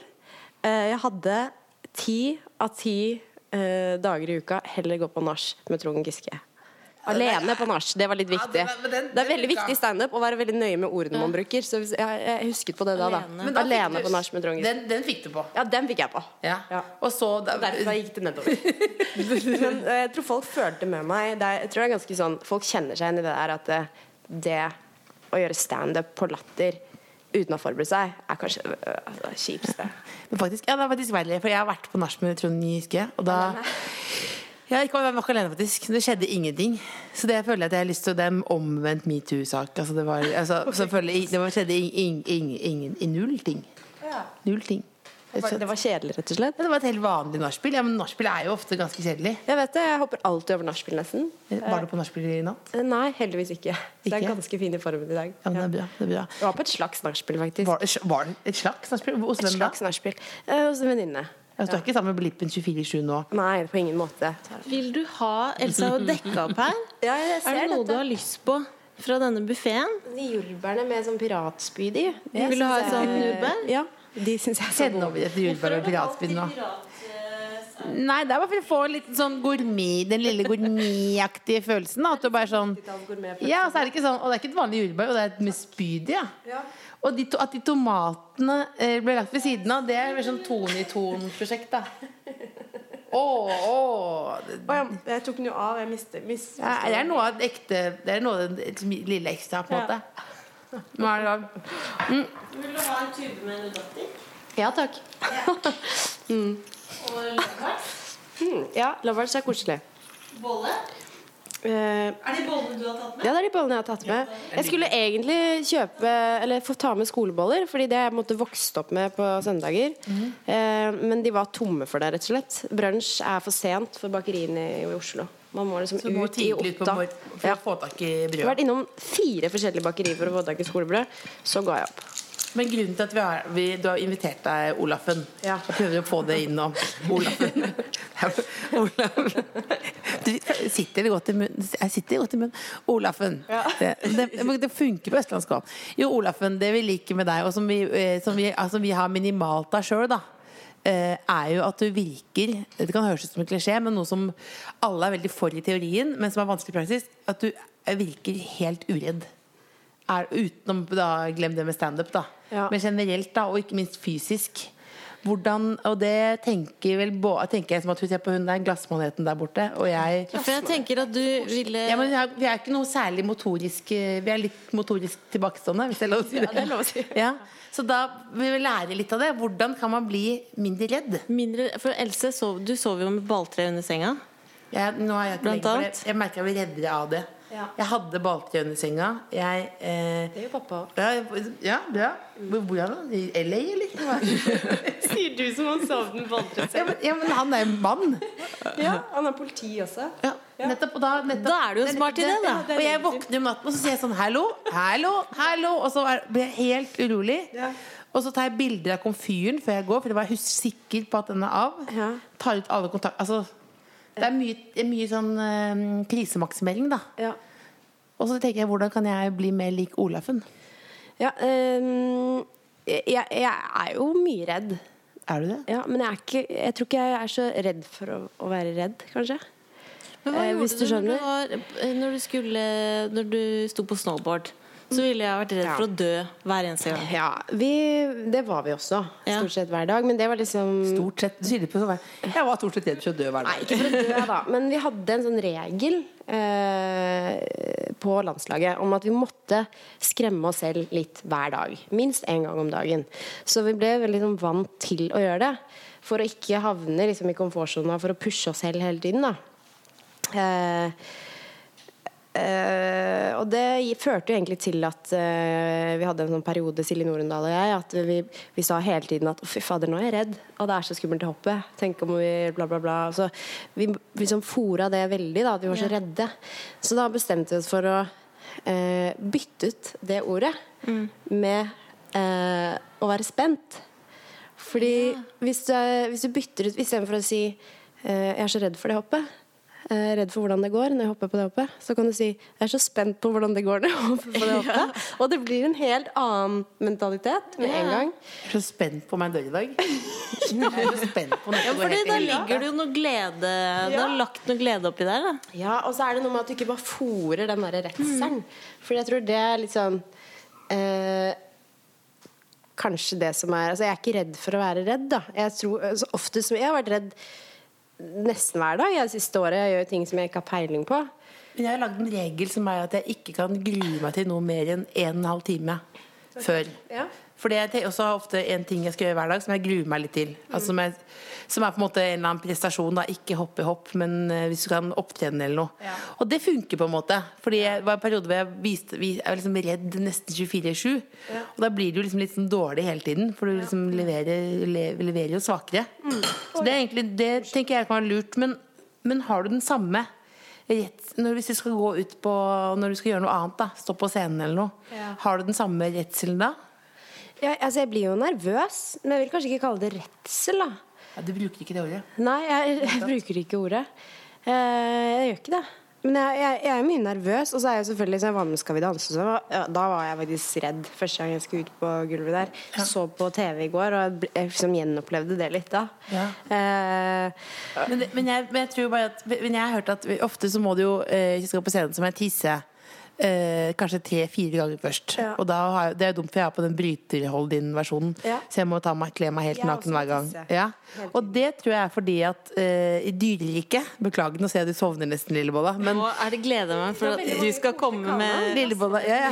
Speaker 7: Eh, jeg hadde ti av ti eh, dager i uka heller gå på nach med Trond Giske. Alene på nach. Det var litt viktig.
Speaker 3: Ja, det var- men den-
Speaker 7: det er
Speaker 3: den
Speaker 7: veldig
Speaker 3: funka.
Speaker 7: viktig i standup å være veldig nøye med ordene man bruker. Så hvis- jeg, jeg husket på det da. da.
Speaker 4: Alene.
Speaker 3: Men
Speaker 7: Alene,
Speaker 3: da fikk du-
Speaker 7: på nach med Trond Giske.
Speaker 3: Den, den fikk du på.
Speaker 7: Ja, den fikk jeg på.
Speaker 3: Ja.
Speaker 7: Ja.
Speaker 3: Og så da,
Speaker 7: Derfra gikk det nedover. Men eh, jeg tror folk følte med meg det er, Jeg tror det er ganske sånn Folk kjenner seg igjen i det der at eh, det å gjøre standup på latter uten å forberede seg, er kanskje øh, altså, det kjipeste.
Speaker 3: Men faktisk, ja, det er faktisk verre, for jeg har vært på nach med Trond Giske, og da Ja, ikke jeg var ikke alene, faktisk. Det skjedde ingenting. Så det føler jeg at jeg har lyst til Det er en omvendt metoo-sak. Altså, det var altså, selvfølgelig Det var, skjedde ing- ing- ing- ingen- i null ting. Null ting.
Speaker 7: Det var kjedelig, rett og slett.
Speaker 3: Ja, det var et helt vanlig nachspiel. Ja, men nachspiel er jo ofte ganske kjedelig.
Speaker 7: Jeg vet det, jeg hopper alltid over nachspiel, nesten.
Speaker 3: Var du på nachspiel i natt?
Speaker 7: Eh, Nei, heldigvis ikke. Så jeg er
Speaker 3: Ikke?
Speaker 7: ganske fin i formen i dag.
Speaker 3: Ja, men det er bra. Det er bra.
Speaker 7: Jeg var på et slags nachspiel, faktisk.
Speaker 3: Var, var det et slags nachspiel? Hos
Speaker 7: Et
Speaker 3: hvem da?
Speaker 7: slags nachspiel eh, hos en venninne.
Speaker 3: Altså, du er ikke sammen med Blippen 24-7 nå?
Speaker 7: Nei, på ingen måte.
Speaker 4: Vil du ha Elsa å dekke opp her?
Speaker 7: Ja, jeg ser
Speaker 4: er det noe
Speaker 7: dette.
Speaker 4: du har lyst på fra denne buffeen?
Speaker 7: De jordbærene med sånn piratspyd i.
Speaker 4: Vil du ha sånn- et sånt jordbær?
Speaker 7: Ja, de syns jeg er så
Speaker 3: Send
Speaker 7: gode.
Speaker 3: over etter jordbær og piratspinn nå. Nei, det er bare for å få litt sånn gourmet, den lille gourmetaktige følelsen. da, At du bare sånn Ja, så er det ikke sånn, og det er ikke et vanlig jordbær, og det er et med spyd i. Ja. Og de to, at de tomatene eh, ble lagt ved siden av, det er mer sånn tone i tone-prosjekt, da. Å, å det-
Speaker 7: Å, jeg, jeg tok den jo av. Jeg mistet mis,
Speaker 3: ja, Det er noe av det ekte Det er noe av det lille ekstra, på en måte. Nå er det da
Speaker 4: Vil du ha en tube med Nudatti?
Speaker 7: Ja takk.
Speaker 4: Og løkbær?
Speaker 7: Hmm. Ja, Lovers er koselig.
Speaker 4: Bolle?
Speaker 7: Eh,
Speaker 4: Er det bollene du har tatt
Speaker 7: ja, det er de bollene jeg har tatt med. Jeg skulle egentlig kjøpe Eller få ta med skoleboller, Fordi det jeg måtte vokste opp med på søndager. Eh, men de var tomme for det, rett og slett. Brunsj er for sent for bakeriene i Oslo. Man må liksom
Speaker 3: Så må
Speaker 7: ut i
Speaker 3: tidlig ut på
Speaker 7: åtta.
Speaker 3: mor- for å få tak i
Speaker 7: Jeg har
Speaker 3: brød.
Speaker 7: vært innom fire forskjellige bakerier for å få tak i skolebrød. Så ga jeg opp.
Speaker 3: Men grunnen til at vi har, vi, du har invitert deg, Olaffen
Speaker 7: Ja.
Speaker 3: Jeg prøver å få det inn nå. Olaffen. Olaf. Du sitter det godt i munnen. Jeg sitter godt i munnen. Olaffen. Det, det, det funker på østlandskap. Jo, Olaffen, det vi liker med deg, og som vi, eh, som vi, altså, vi har minimalt av sjøl, da. eh, Er jo at du virker Det kan høres ut som en klisjé, men noe som alle er veldig for i teorien, men som er vanskelig i praksis. At du virker helt uredd er, utenom da, Glem det med standup, da.
Speaker 7: Ja.
Speaker 3: Men generelt, da, og ikke minst fysisk. Hvordan, og det tenker, vel, bå- tenker jeg som at hun ser på hun der glassmaneten der borte. Og jeg
Speaker 4: For jeg tenker at du ville
Speaker 3: ja, men vi er, vi er ikke noe særlig motorisk eh, Vi er litt motorisk tilbakestående, hvis det er lov å si. det.
Speaker 7: det er lov å si.
Speaker 3: Ja. Så da vil vi lære litt av det. Hvordan kan man bli mindre redd?
Speaker 4: mindre For Else, sov, du sov jo med balltre under senga.
Speaker 3: Jeg, nå er jeg, ikke
Speaker 4: Blant
Speaker 3: lenger, for jeg,
Speaker 4: annet?
Speaker 3: jeg merker jeg blir reddere av det.
Speaker 7: Ja.
Speaker 3: Jeg hadde balltre under senga. Jeg eh,
Speaker 7: Det gjør pappa òg.
Speaker 3: Ja, ja, bra. Hvor bor han? da? I LA, eller?
Speaker 7: Sier du som han savner
Speaker 3: Ja, men, ja, men han er jo en mann.
Speaker 7: Ja, han er politi også.
Speaker 3: Ja. Nettopp, og da, nettopp.
Speaker 4: Da er du jo smart i det, da.
Speaker 3: Og jeg våkner om natten og så sier jeg sånn Hallo, hallo, hallo. Og så er- blir jeg helt urolig. Og så tar jeg bilder av komfyren før jeg går, for jeg var hus- sikker på at den er av.
Speaker 7: Ja.
Speaker 3: Tar ut alle kontakt... Altså, det er mye, det er mye sånn eh, krisemaksimering, da.
Speaker 7: Ja.
Speaker 3: Og så tenker jeg hvordan kan jeg bli mer lik Olafen?
Speaker 7: Ja, ehm, jeg, jeg er jo mye redd.
Speaker 3: Er du det?
Speaker 7: Ja, men jeg, er ikke, jeg tror ikke jeg er så redd for å, å være redd, kanskje.
Speaker 4: Men hva
Speaker 7: Eh,
Speaker 4: gjorde
Speaker 7: hvis
Speaker 4: du,
Speaker 7: du
Speaker 4: når du, var, eh, når du skulle Når du sto på snowboard? Så ville jeg vært redd
Speaker 7: Ja.
Speaker 4: for å dø hver eneste gang.
Speaker 7: Ja, vi, Det var vi også.
Speaker 4: Ja.
Speaker 7: Stort sett hver dag. Men det var liksom
Speaker 3: Stort sett. Du sier det på sånn vei. Jeg var stort sett redd for å dø hver
Speaker 7: Nei,
Speaker 3: dag.
Speaker 7: ikke for å dø, da. Men vi hadde en sånn regel eh, på landslaget om at vi måtte skremme oss selv litt hver dag. Minst én gang om dagen. Så vi ble veldig sånn, vant til å gjøre det. For å ikke havne liksom, i komfortsona for å pushe oss selv hele tiden. da eh, Eh, og det gi- førte jo egentlig til at eh, vi hadde en sånn periode, Silje Norendal og jeg, at vi, vi sa hele tiden at «Å, fy fader, nå er jeg redd. Og det er så skummelt å hoppe. Tenk om vi bla, bla, bla. Så vi liksom fora det veldig, da, at vi var så redde. Så da bestemte vi oss for å eh, bytte ut det ordet med eh, å være spent. Fordi hvis, du, er- hvis du bytter ut Istedenfor å si eh, 'jeg er så redd for det hoppet', eh, redd for hvordan det går når jeg hopper på det hoppet, så kan du si 'jeg er så spent på hvordan det går når jeg hopper på det hoppet'. Og det blir en helt annen mentalitet med en gang.
Speaker 3: Jeg er så spent på om jeg dør i dag. Jeg er så spent på om dette
Speaker 4: Ja,
Speaker 3: går
Speaker 4: fordi da
Speaker 3: helt i helvete.
Speaker 4: ligger det jo noe glede Du har lagt noe glede oppi der, da.
Speaker 7: Ja, Og så er det noe med at du ikke bare fôrer den derre redselen. For Mm. jeg tror det er litt sånn eh, Kanskje det som er Altså, jeg er ikke redd for å være redd, da. Jeg tror, altså, ofte som jeg har vært redd nesten hver dag jeg, det siste året. Jeg gjør jo ting som jeg ikke har peiling på.
Speaker 3: Men jeg har lagd en regel som er at jeg ikke kan grue meg til noe mer enn en og en halv time før.
Speaker 7: Ja.
Speaker 3: For det er også ofte en ting jeg skal gjøre hver dag som jeg gruer meg litt til. Altså, som, jeg, som er på en måte en eller annen prestasjon. Da. Ikke hopp i hopp, men eh, hvis du kan opptrene eller noe. Og det funker på en måte. Fordi jeg var en periode hvor jeg, viste, vi- jeg var liksom redd nesten 24-7. Og da blir du liksom litt sånn dårlig hele tiden, for du liksom leverer, le, leverer jo svakere. Så det, er egentlig, det tenker jeg kan være lurt. Men, men har du den samme rett, når, Hvis du skal gå ut på Når du skal gjøre noe annet, da, stå på scenen eller noe, har du den samme redselen da?
Speaker 7: Ja, altså, jeg blir jo nervøs, men jeg vil kanskje ikke kalle det redsel. da
Speaker 3: Ja, Du bruker ikke det ordet.
Speaker 7: Nei, jeg, jeg bruker ikke ordet. Eh, jeg gjør ikke det. Men jeg, jeg, jeg er mye nervøs. Og så er jeg selvfølgelig så jeg var med i Skal vi danse. Så var, ja, da var jeg faktisk redd første gang jeg skulle ut på gulvet der. Så på TV i går, og jeg, ble- jeg liksom gjenopplevde det litt da. Eh,
Speaker 3: Men, det- men, jeg, men jeg tror bare at Men jeg har hørt at vi- ofte så må du jo eh, Hvis du skal på scenen, så må jeg tisse. Eh, kanskje tre-fire ganger først.
Speaker 7: Ja.
Speaker 3: Og da har, jeg- Det er jo dumt, for jeg er på den bryterhold din-versjonen.
Speaker 7: Ja.
Speaker 3: Så jeg må ta meg, kle meg helt
Speaker 7: Jeg er
Speaker 3: naken
Speaker 7: også
Speaker 3: hver gang.
Speaker 7: tisse.
Speaker 3: Ja. Og det tror jeg er fordi at eh, i dyreriket Beklager, nå ser jeg du sovner nesten, Lillebolla. Men
Speaker 4: Nå er det gleder meg for at du skal komme med
Speaker 3: Lillebolla, ja, ja.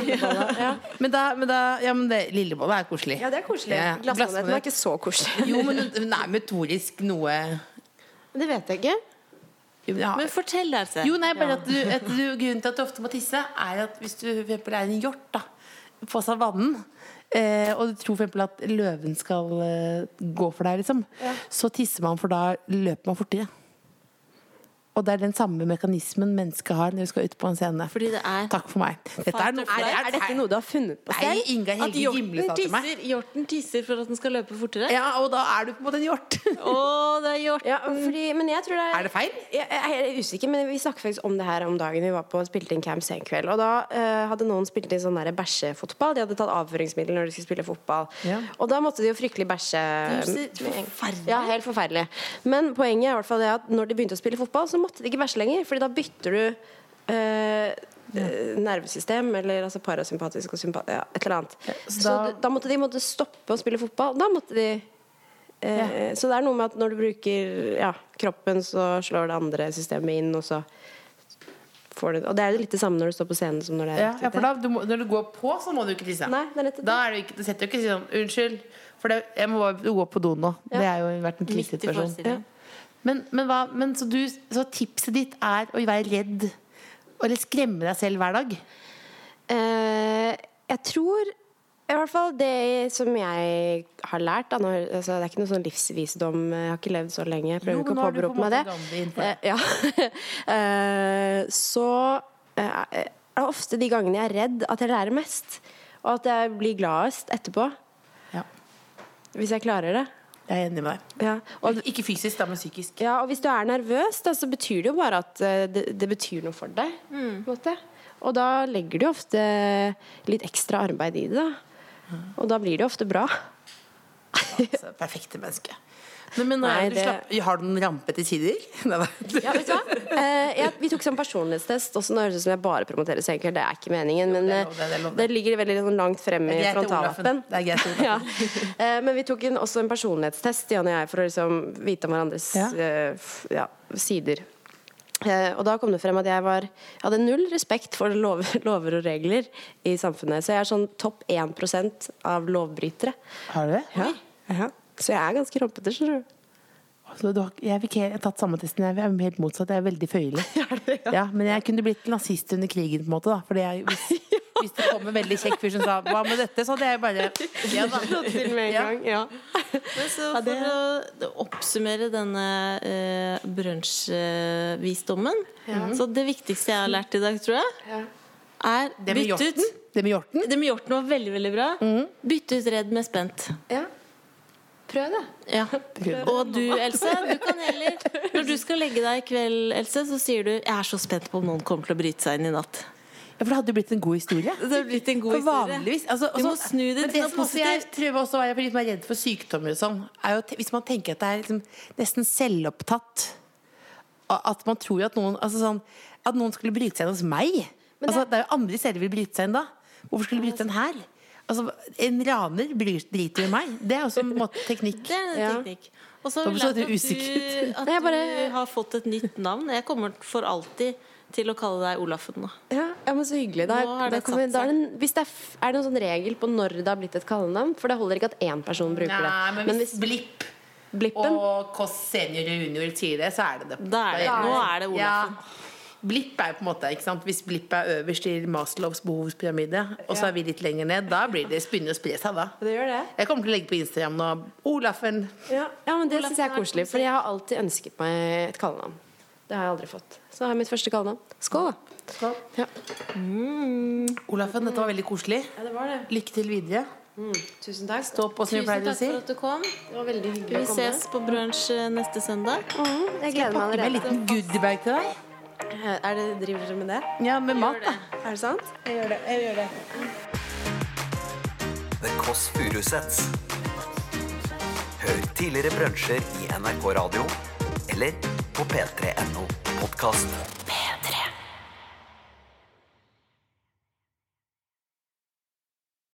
Speaker 3: ja. Men da, men da ja, men det, Lillebolla er koselig.
Speaker 7: ja, det er koselig.
Speaker 3: Ja, ja.
Speaker 7: Glassmaneten
Speaker 3: Glassmanet.
Speaker 7: var ikke så koselig.
Speaker 3: Jo, men hun hun er metodisk noe
Speaker 7: Det vet jeg ikke.
Speaker 3: ja.
Speaker 4: Men fortell, Else.
Speaker 3: Jo, nei, bare at du, at du, grunnen til at du ofte må tisse, er at hvis du for eksempel er en hjort da, på savannen, eh, og du tror for eksempel at løven skal eh, gå for deg, liksom, så tisser man, for da løper man fortere. Og det er den samme mekanismen mennesket har når du skal ut på en scene.
Speaker 4: Fordi det er
Speaker 3: Takk for meg. Dette er, noe,
Speaker 4: Fight or
Speaker 7: Er, er dette noe du har funnet på
Speaker 3: Nei,
Speaker 7: selv?
Speaker 3: Inga
Speaker 4: At
Speaker 3: Helge Gimle
Speaker 4: hjorten
Speaker 3: sa til meg.
Speaker 4: tisser, hjorten tisser for at den skal løpe fortere?
Speaker 3: Ja, og da er du på en måte en hjort.
Speaker 4: Å, det er hjort.
Speaker 7: Ja, fordi, men jeg tror det
Speaker 3: Er det feil?
Speaker 7: Jeg jeg er usikker, men vi snakket faktisk om det her om dagen vi var på og spilte inn camp sen kveld. Og da eh, hadde noen spilt inn sånn der bæsjefotball. De hadde tatt avføringsmiddel når de skulle spille fotball.
Speaker 3: Ja.
Speaker 7: Og da måtte de jo fryktelig bæsje.
Speaker 4: Det høres helt forferdelig
Speaker 7: Ja, helt forferdelig. Men poenget er i hvert fall det at når de begynte å spille fotball, så måtte de ikke bæsje lenger, Fordi da bytter du eh, eh, Nervesystem, eller altså parasympatisk og sympa... Ja, et eller annet. så
Speaker 3: da-
Speaker 7: da, da måtte de måtte stoppe å spille fotball. Da måtte de Eh, Så det er noe med at når du bruker ja, kroppen, så slår det andre systemet inn, og så får du Og det er jo litt det samme når du står på scenen som når det er
Speaker 3: Ja, ja, for
Speaker 7: aktivitet.
Speaker 3: da, du må, når du går på, så må du ikke tisse.
Speaker 7: Nei, det er nettopp det.
Speaker 3: Da er du ikke, du setter du ikke sånn Unnskyld, for det, jeg må bare gå på do nå. Det er jo vært en
Speaker 4: Midt i
Speaker 3: krisesituasjon.
Speaker 4: forestillingen.
Speaker 3: Men, men, hva, men så, du, så tipset ditt er å være redd eller skremme deg selv hver dag?
Speaker 7: Eh, jeg tror i hvert fall det som jeg har lært da, nå, altså, Det er ikke noe sånn livsvisdom. Jeg har ikke levd så lenge. Jeg prøver
Speaker 3: Jo,
Speaker 7: ikke
Speaker 3: men
Speaker 7: å
Speaker 3: nå er du på en
Speaker 7: påberope meg det.
Speaker 3: måte gammel innenfor det.
Speaker 7: Eh, ja. Eh, så eh, er det ofte de gangene jeg er redd, at jeg lærer mest. Og at jeg blir gladest etterpå.
Speaker 3: Ja.
Speaker 7: Hvis jeg klarer det.
Speaker 3: Jeg er enig med deg.
Speaker 7: Ja. Og,
Speaker 3: Ikke fysisk, da, men psykisk.
Speaker 7: ja, og hvis du er nervøs, da, så betyr det jo bare at eh, det, det betyr noe for deg. på en måte. Og da legger du ofte litt ekstra arbeid i det. da. Og da blir det ofte bra.
Speaker 3: Så, perfekte menneske. Men, men
Speaker 7: Nei,
Speaker 3: er du
Speaker 7: det-
Speaker 3: slapp, har du noen rampete sider? Nei, nei.
Speaker 7: Ja, vet du hva? Eh, jeg, vi tok sånn personlighetstest. Også nå høres det ut som jeg bare promoterer senkveld. Det er ikke meningen. Men
Speaker 3: det er
Speaker 7: eh,
Speaker 3: lov, det er- det er lov,
Speaker 7: det ligger veldig sånn langt frem i
Speaker 3: Det er greit til
Speaker 7: frontallappen.
Speaker 3: Olafen. Det er greit til
Speaker 7: Ja.
Speaker 3: Olafen.
Speaker 7: Eh, Men vi tok en, også en personlighetstest, Jan og jeg, for å liksom vite om hverandres
Speaker 3: Ja.
Speaker 7: eh, f- ja, sider. Eh, og da kom det frem at jeg var jeg hadde null respekt for lover, lover og regler i samfunnet. Så jeg er sånn topp 1 av lovbrytere.
Speaker 3: Har du det?
Speaker 7: Ja. Ja. Så jeg er ganske rampete, skjønner du.
Speaker 3: Altså, du har, ikke- jeg, fikk, helt- jeg har tatt samme testen. Jeg er helt motsatt. Jeg er veldig føyelig. ja. men jeg kunne blitt nazist under krigen, på en måte. Da. Fordi jeg, hvis, hvis det kom en veldig kjekk fyr som sa 'hva med dette', så hadde jeg bare ja, da.
Speaker 7: Til med en
Speaker 3: Ja.
Speaker 7: gang, ja.
Speaker 4: Men så for å oppsummere denne eh, brunsjvisdommen
Speaker 3: Mhm.
Speaker 4: Så det viktigste jeg har lært i dag, tror jeg, er
Speaker 3: Det med
Speaker 4: bytte ut
Speaker 3: hjorten. Mhm. Det med hjorten.
Speaker 4: Det med hjorten var veldig, veldig bra. Bytte ut redd med spent.
Speaker 7: Prøv det.
Speaker 4: Ja. Og du, Else, du kan heller Når du skal legge deg i kveld, Else, så sier du 'Jeg er så spent på om noen kommer til å bryte seg inn i natt'.
Speaker 3: Ja, for det hadde jo blitt en god historie.
Speaker 4: Det har blitt en god
Speaker 3: For
Speaker 4: historie.
Speaker 3: vanligvis altså,
Speaker 4: Vi må
Speaker 3: altså-
Speaker 4: snu det
Speaker 3: men
Speaker 4: til noe
Speaker 3: som også jeg
Speaker 4: positivt.
Speaker 3: prøver også å være litt mer redd for sykdommer og sånn, er jo te- hvis man tenker at det er liksom nesten selvopptatt a- At man tror at noen altså sånn, At noen skulle bryte seg inn hos meg.
Speaker 7: Men det-
Speaker 3: altså, det er jo andre steder vi bryter seg inn da. Hvorfor skulle de bryte seg inn her? Altså, en raner bryr, driter jo i meg. Det er også en måte teknikk.
Speaker 4: Det er en
Speaker 7: Ja.
Speaker 4: teknikk. Og så
Speaker 3: Da
Speaker 4: har vi
Speaker 3: ble så
Speaker 4: lært at,
Speaker 3: usikker ut.
Speaker 4: du, at
Speaker 7: Nei, jeg bare-
Speaker 4: du har fått et nytt navn. Jeg kommer for alltid til å kalle deg Olafen nå.
Speaker 7: Ja, ja, men så hyggelig. Da,
Speaker 4: Nå har
Speaker 7: da
Speaker 4: det
Speaker 7: kan vi,
Speaker 4: satt
Speaker 7: da er, det en, hvis det er, f- er det noen sånn regel på når det har blitt et kallenavn? For det holder ikke at én person bruker
Speaker 3: Nei,
Speaker 7: det.
Speaker 3: men hvis Blipp
Speaker 7: blippen
Speaker 3: og Kåss senior og junior sier det, så er det det.
Speaker 4: Da er det- nå er det Olafen.
Speaker 3: Ja. Blipp er jo på en måte, ikke sant? Hvis Blipp er øverst i Maslows behovspyramide, og så er vi litt lenger ned, da blir det begynner det å spre seg, da.
Speaker 7: Det gjør det.
Speaker 3: Jeg kommer til å legge på Instagram nå Olafen.
Speaker 7: Ja, ja men det syns jeg er
Speaker 4: Olafen er
Speaker 7: koselig. For jeg har alltid ønsket meg et kallenavn. Det har jeg aldri fått. Så det er mitt første kallenavn. Skål, da. Ja.
Speaker 3: Olafen, dette var veldig koselig.
Speaker 7: det var det.
Speaker 3: Lykke til videre.
Speaker 7: Tusen takk.
Speaker 3: Stå på, som vi
Speaker 4: Tusen
Speaker 3: pleier å
Speaker 4: takk
Speaker 3: si.
Speaker 4: for at du kom.
Speaker 7: Det var veldig hyggelig
Speaker 4: Vi
Speaker 7: å komme.
Speaker 4: ses på brunsj eh, neste søndag.
Speaker 7: Mm, jeg gleder meg
Speaker 3: Med en
Speaker 7: allerede.
Speaker 3: liten goodiebag til deg.
Speaker 7: Er det, driver dere med det?
Speaker 3: Ja, med mat, da.
Speaker 7: Er det sant?
Speaker 1: The Kåss Furuseths. Hør tidligere brunsjer i NRK Radio eller på p3.no podkast.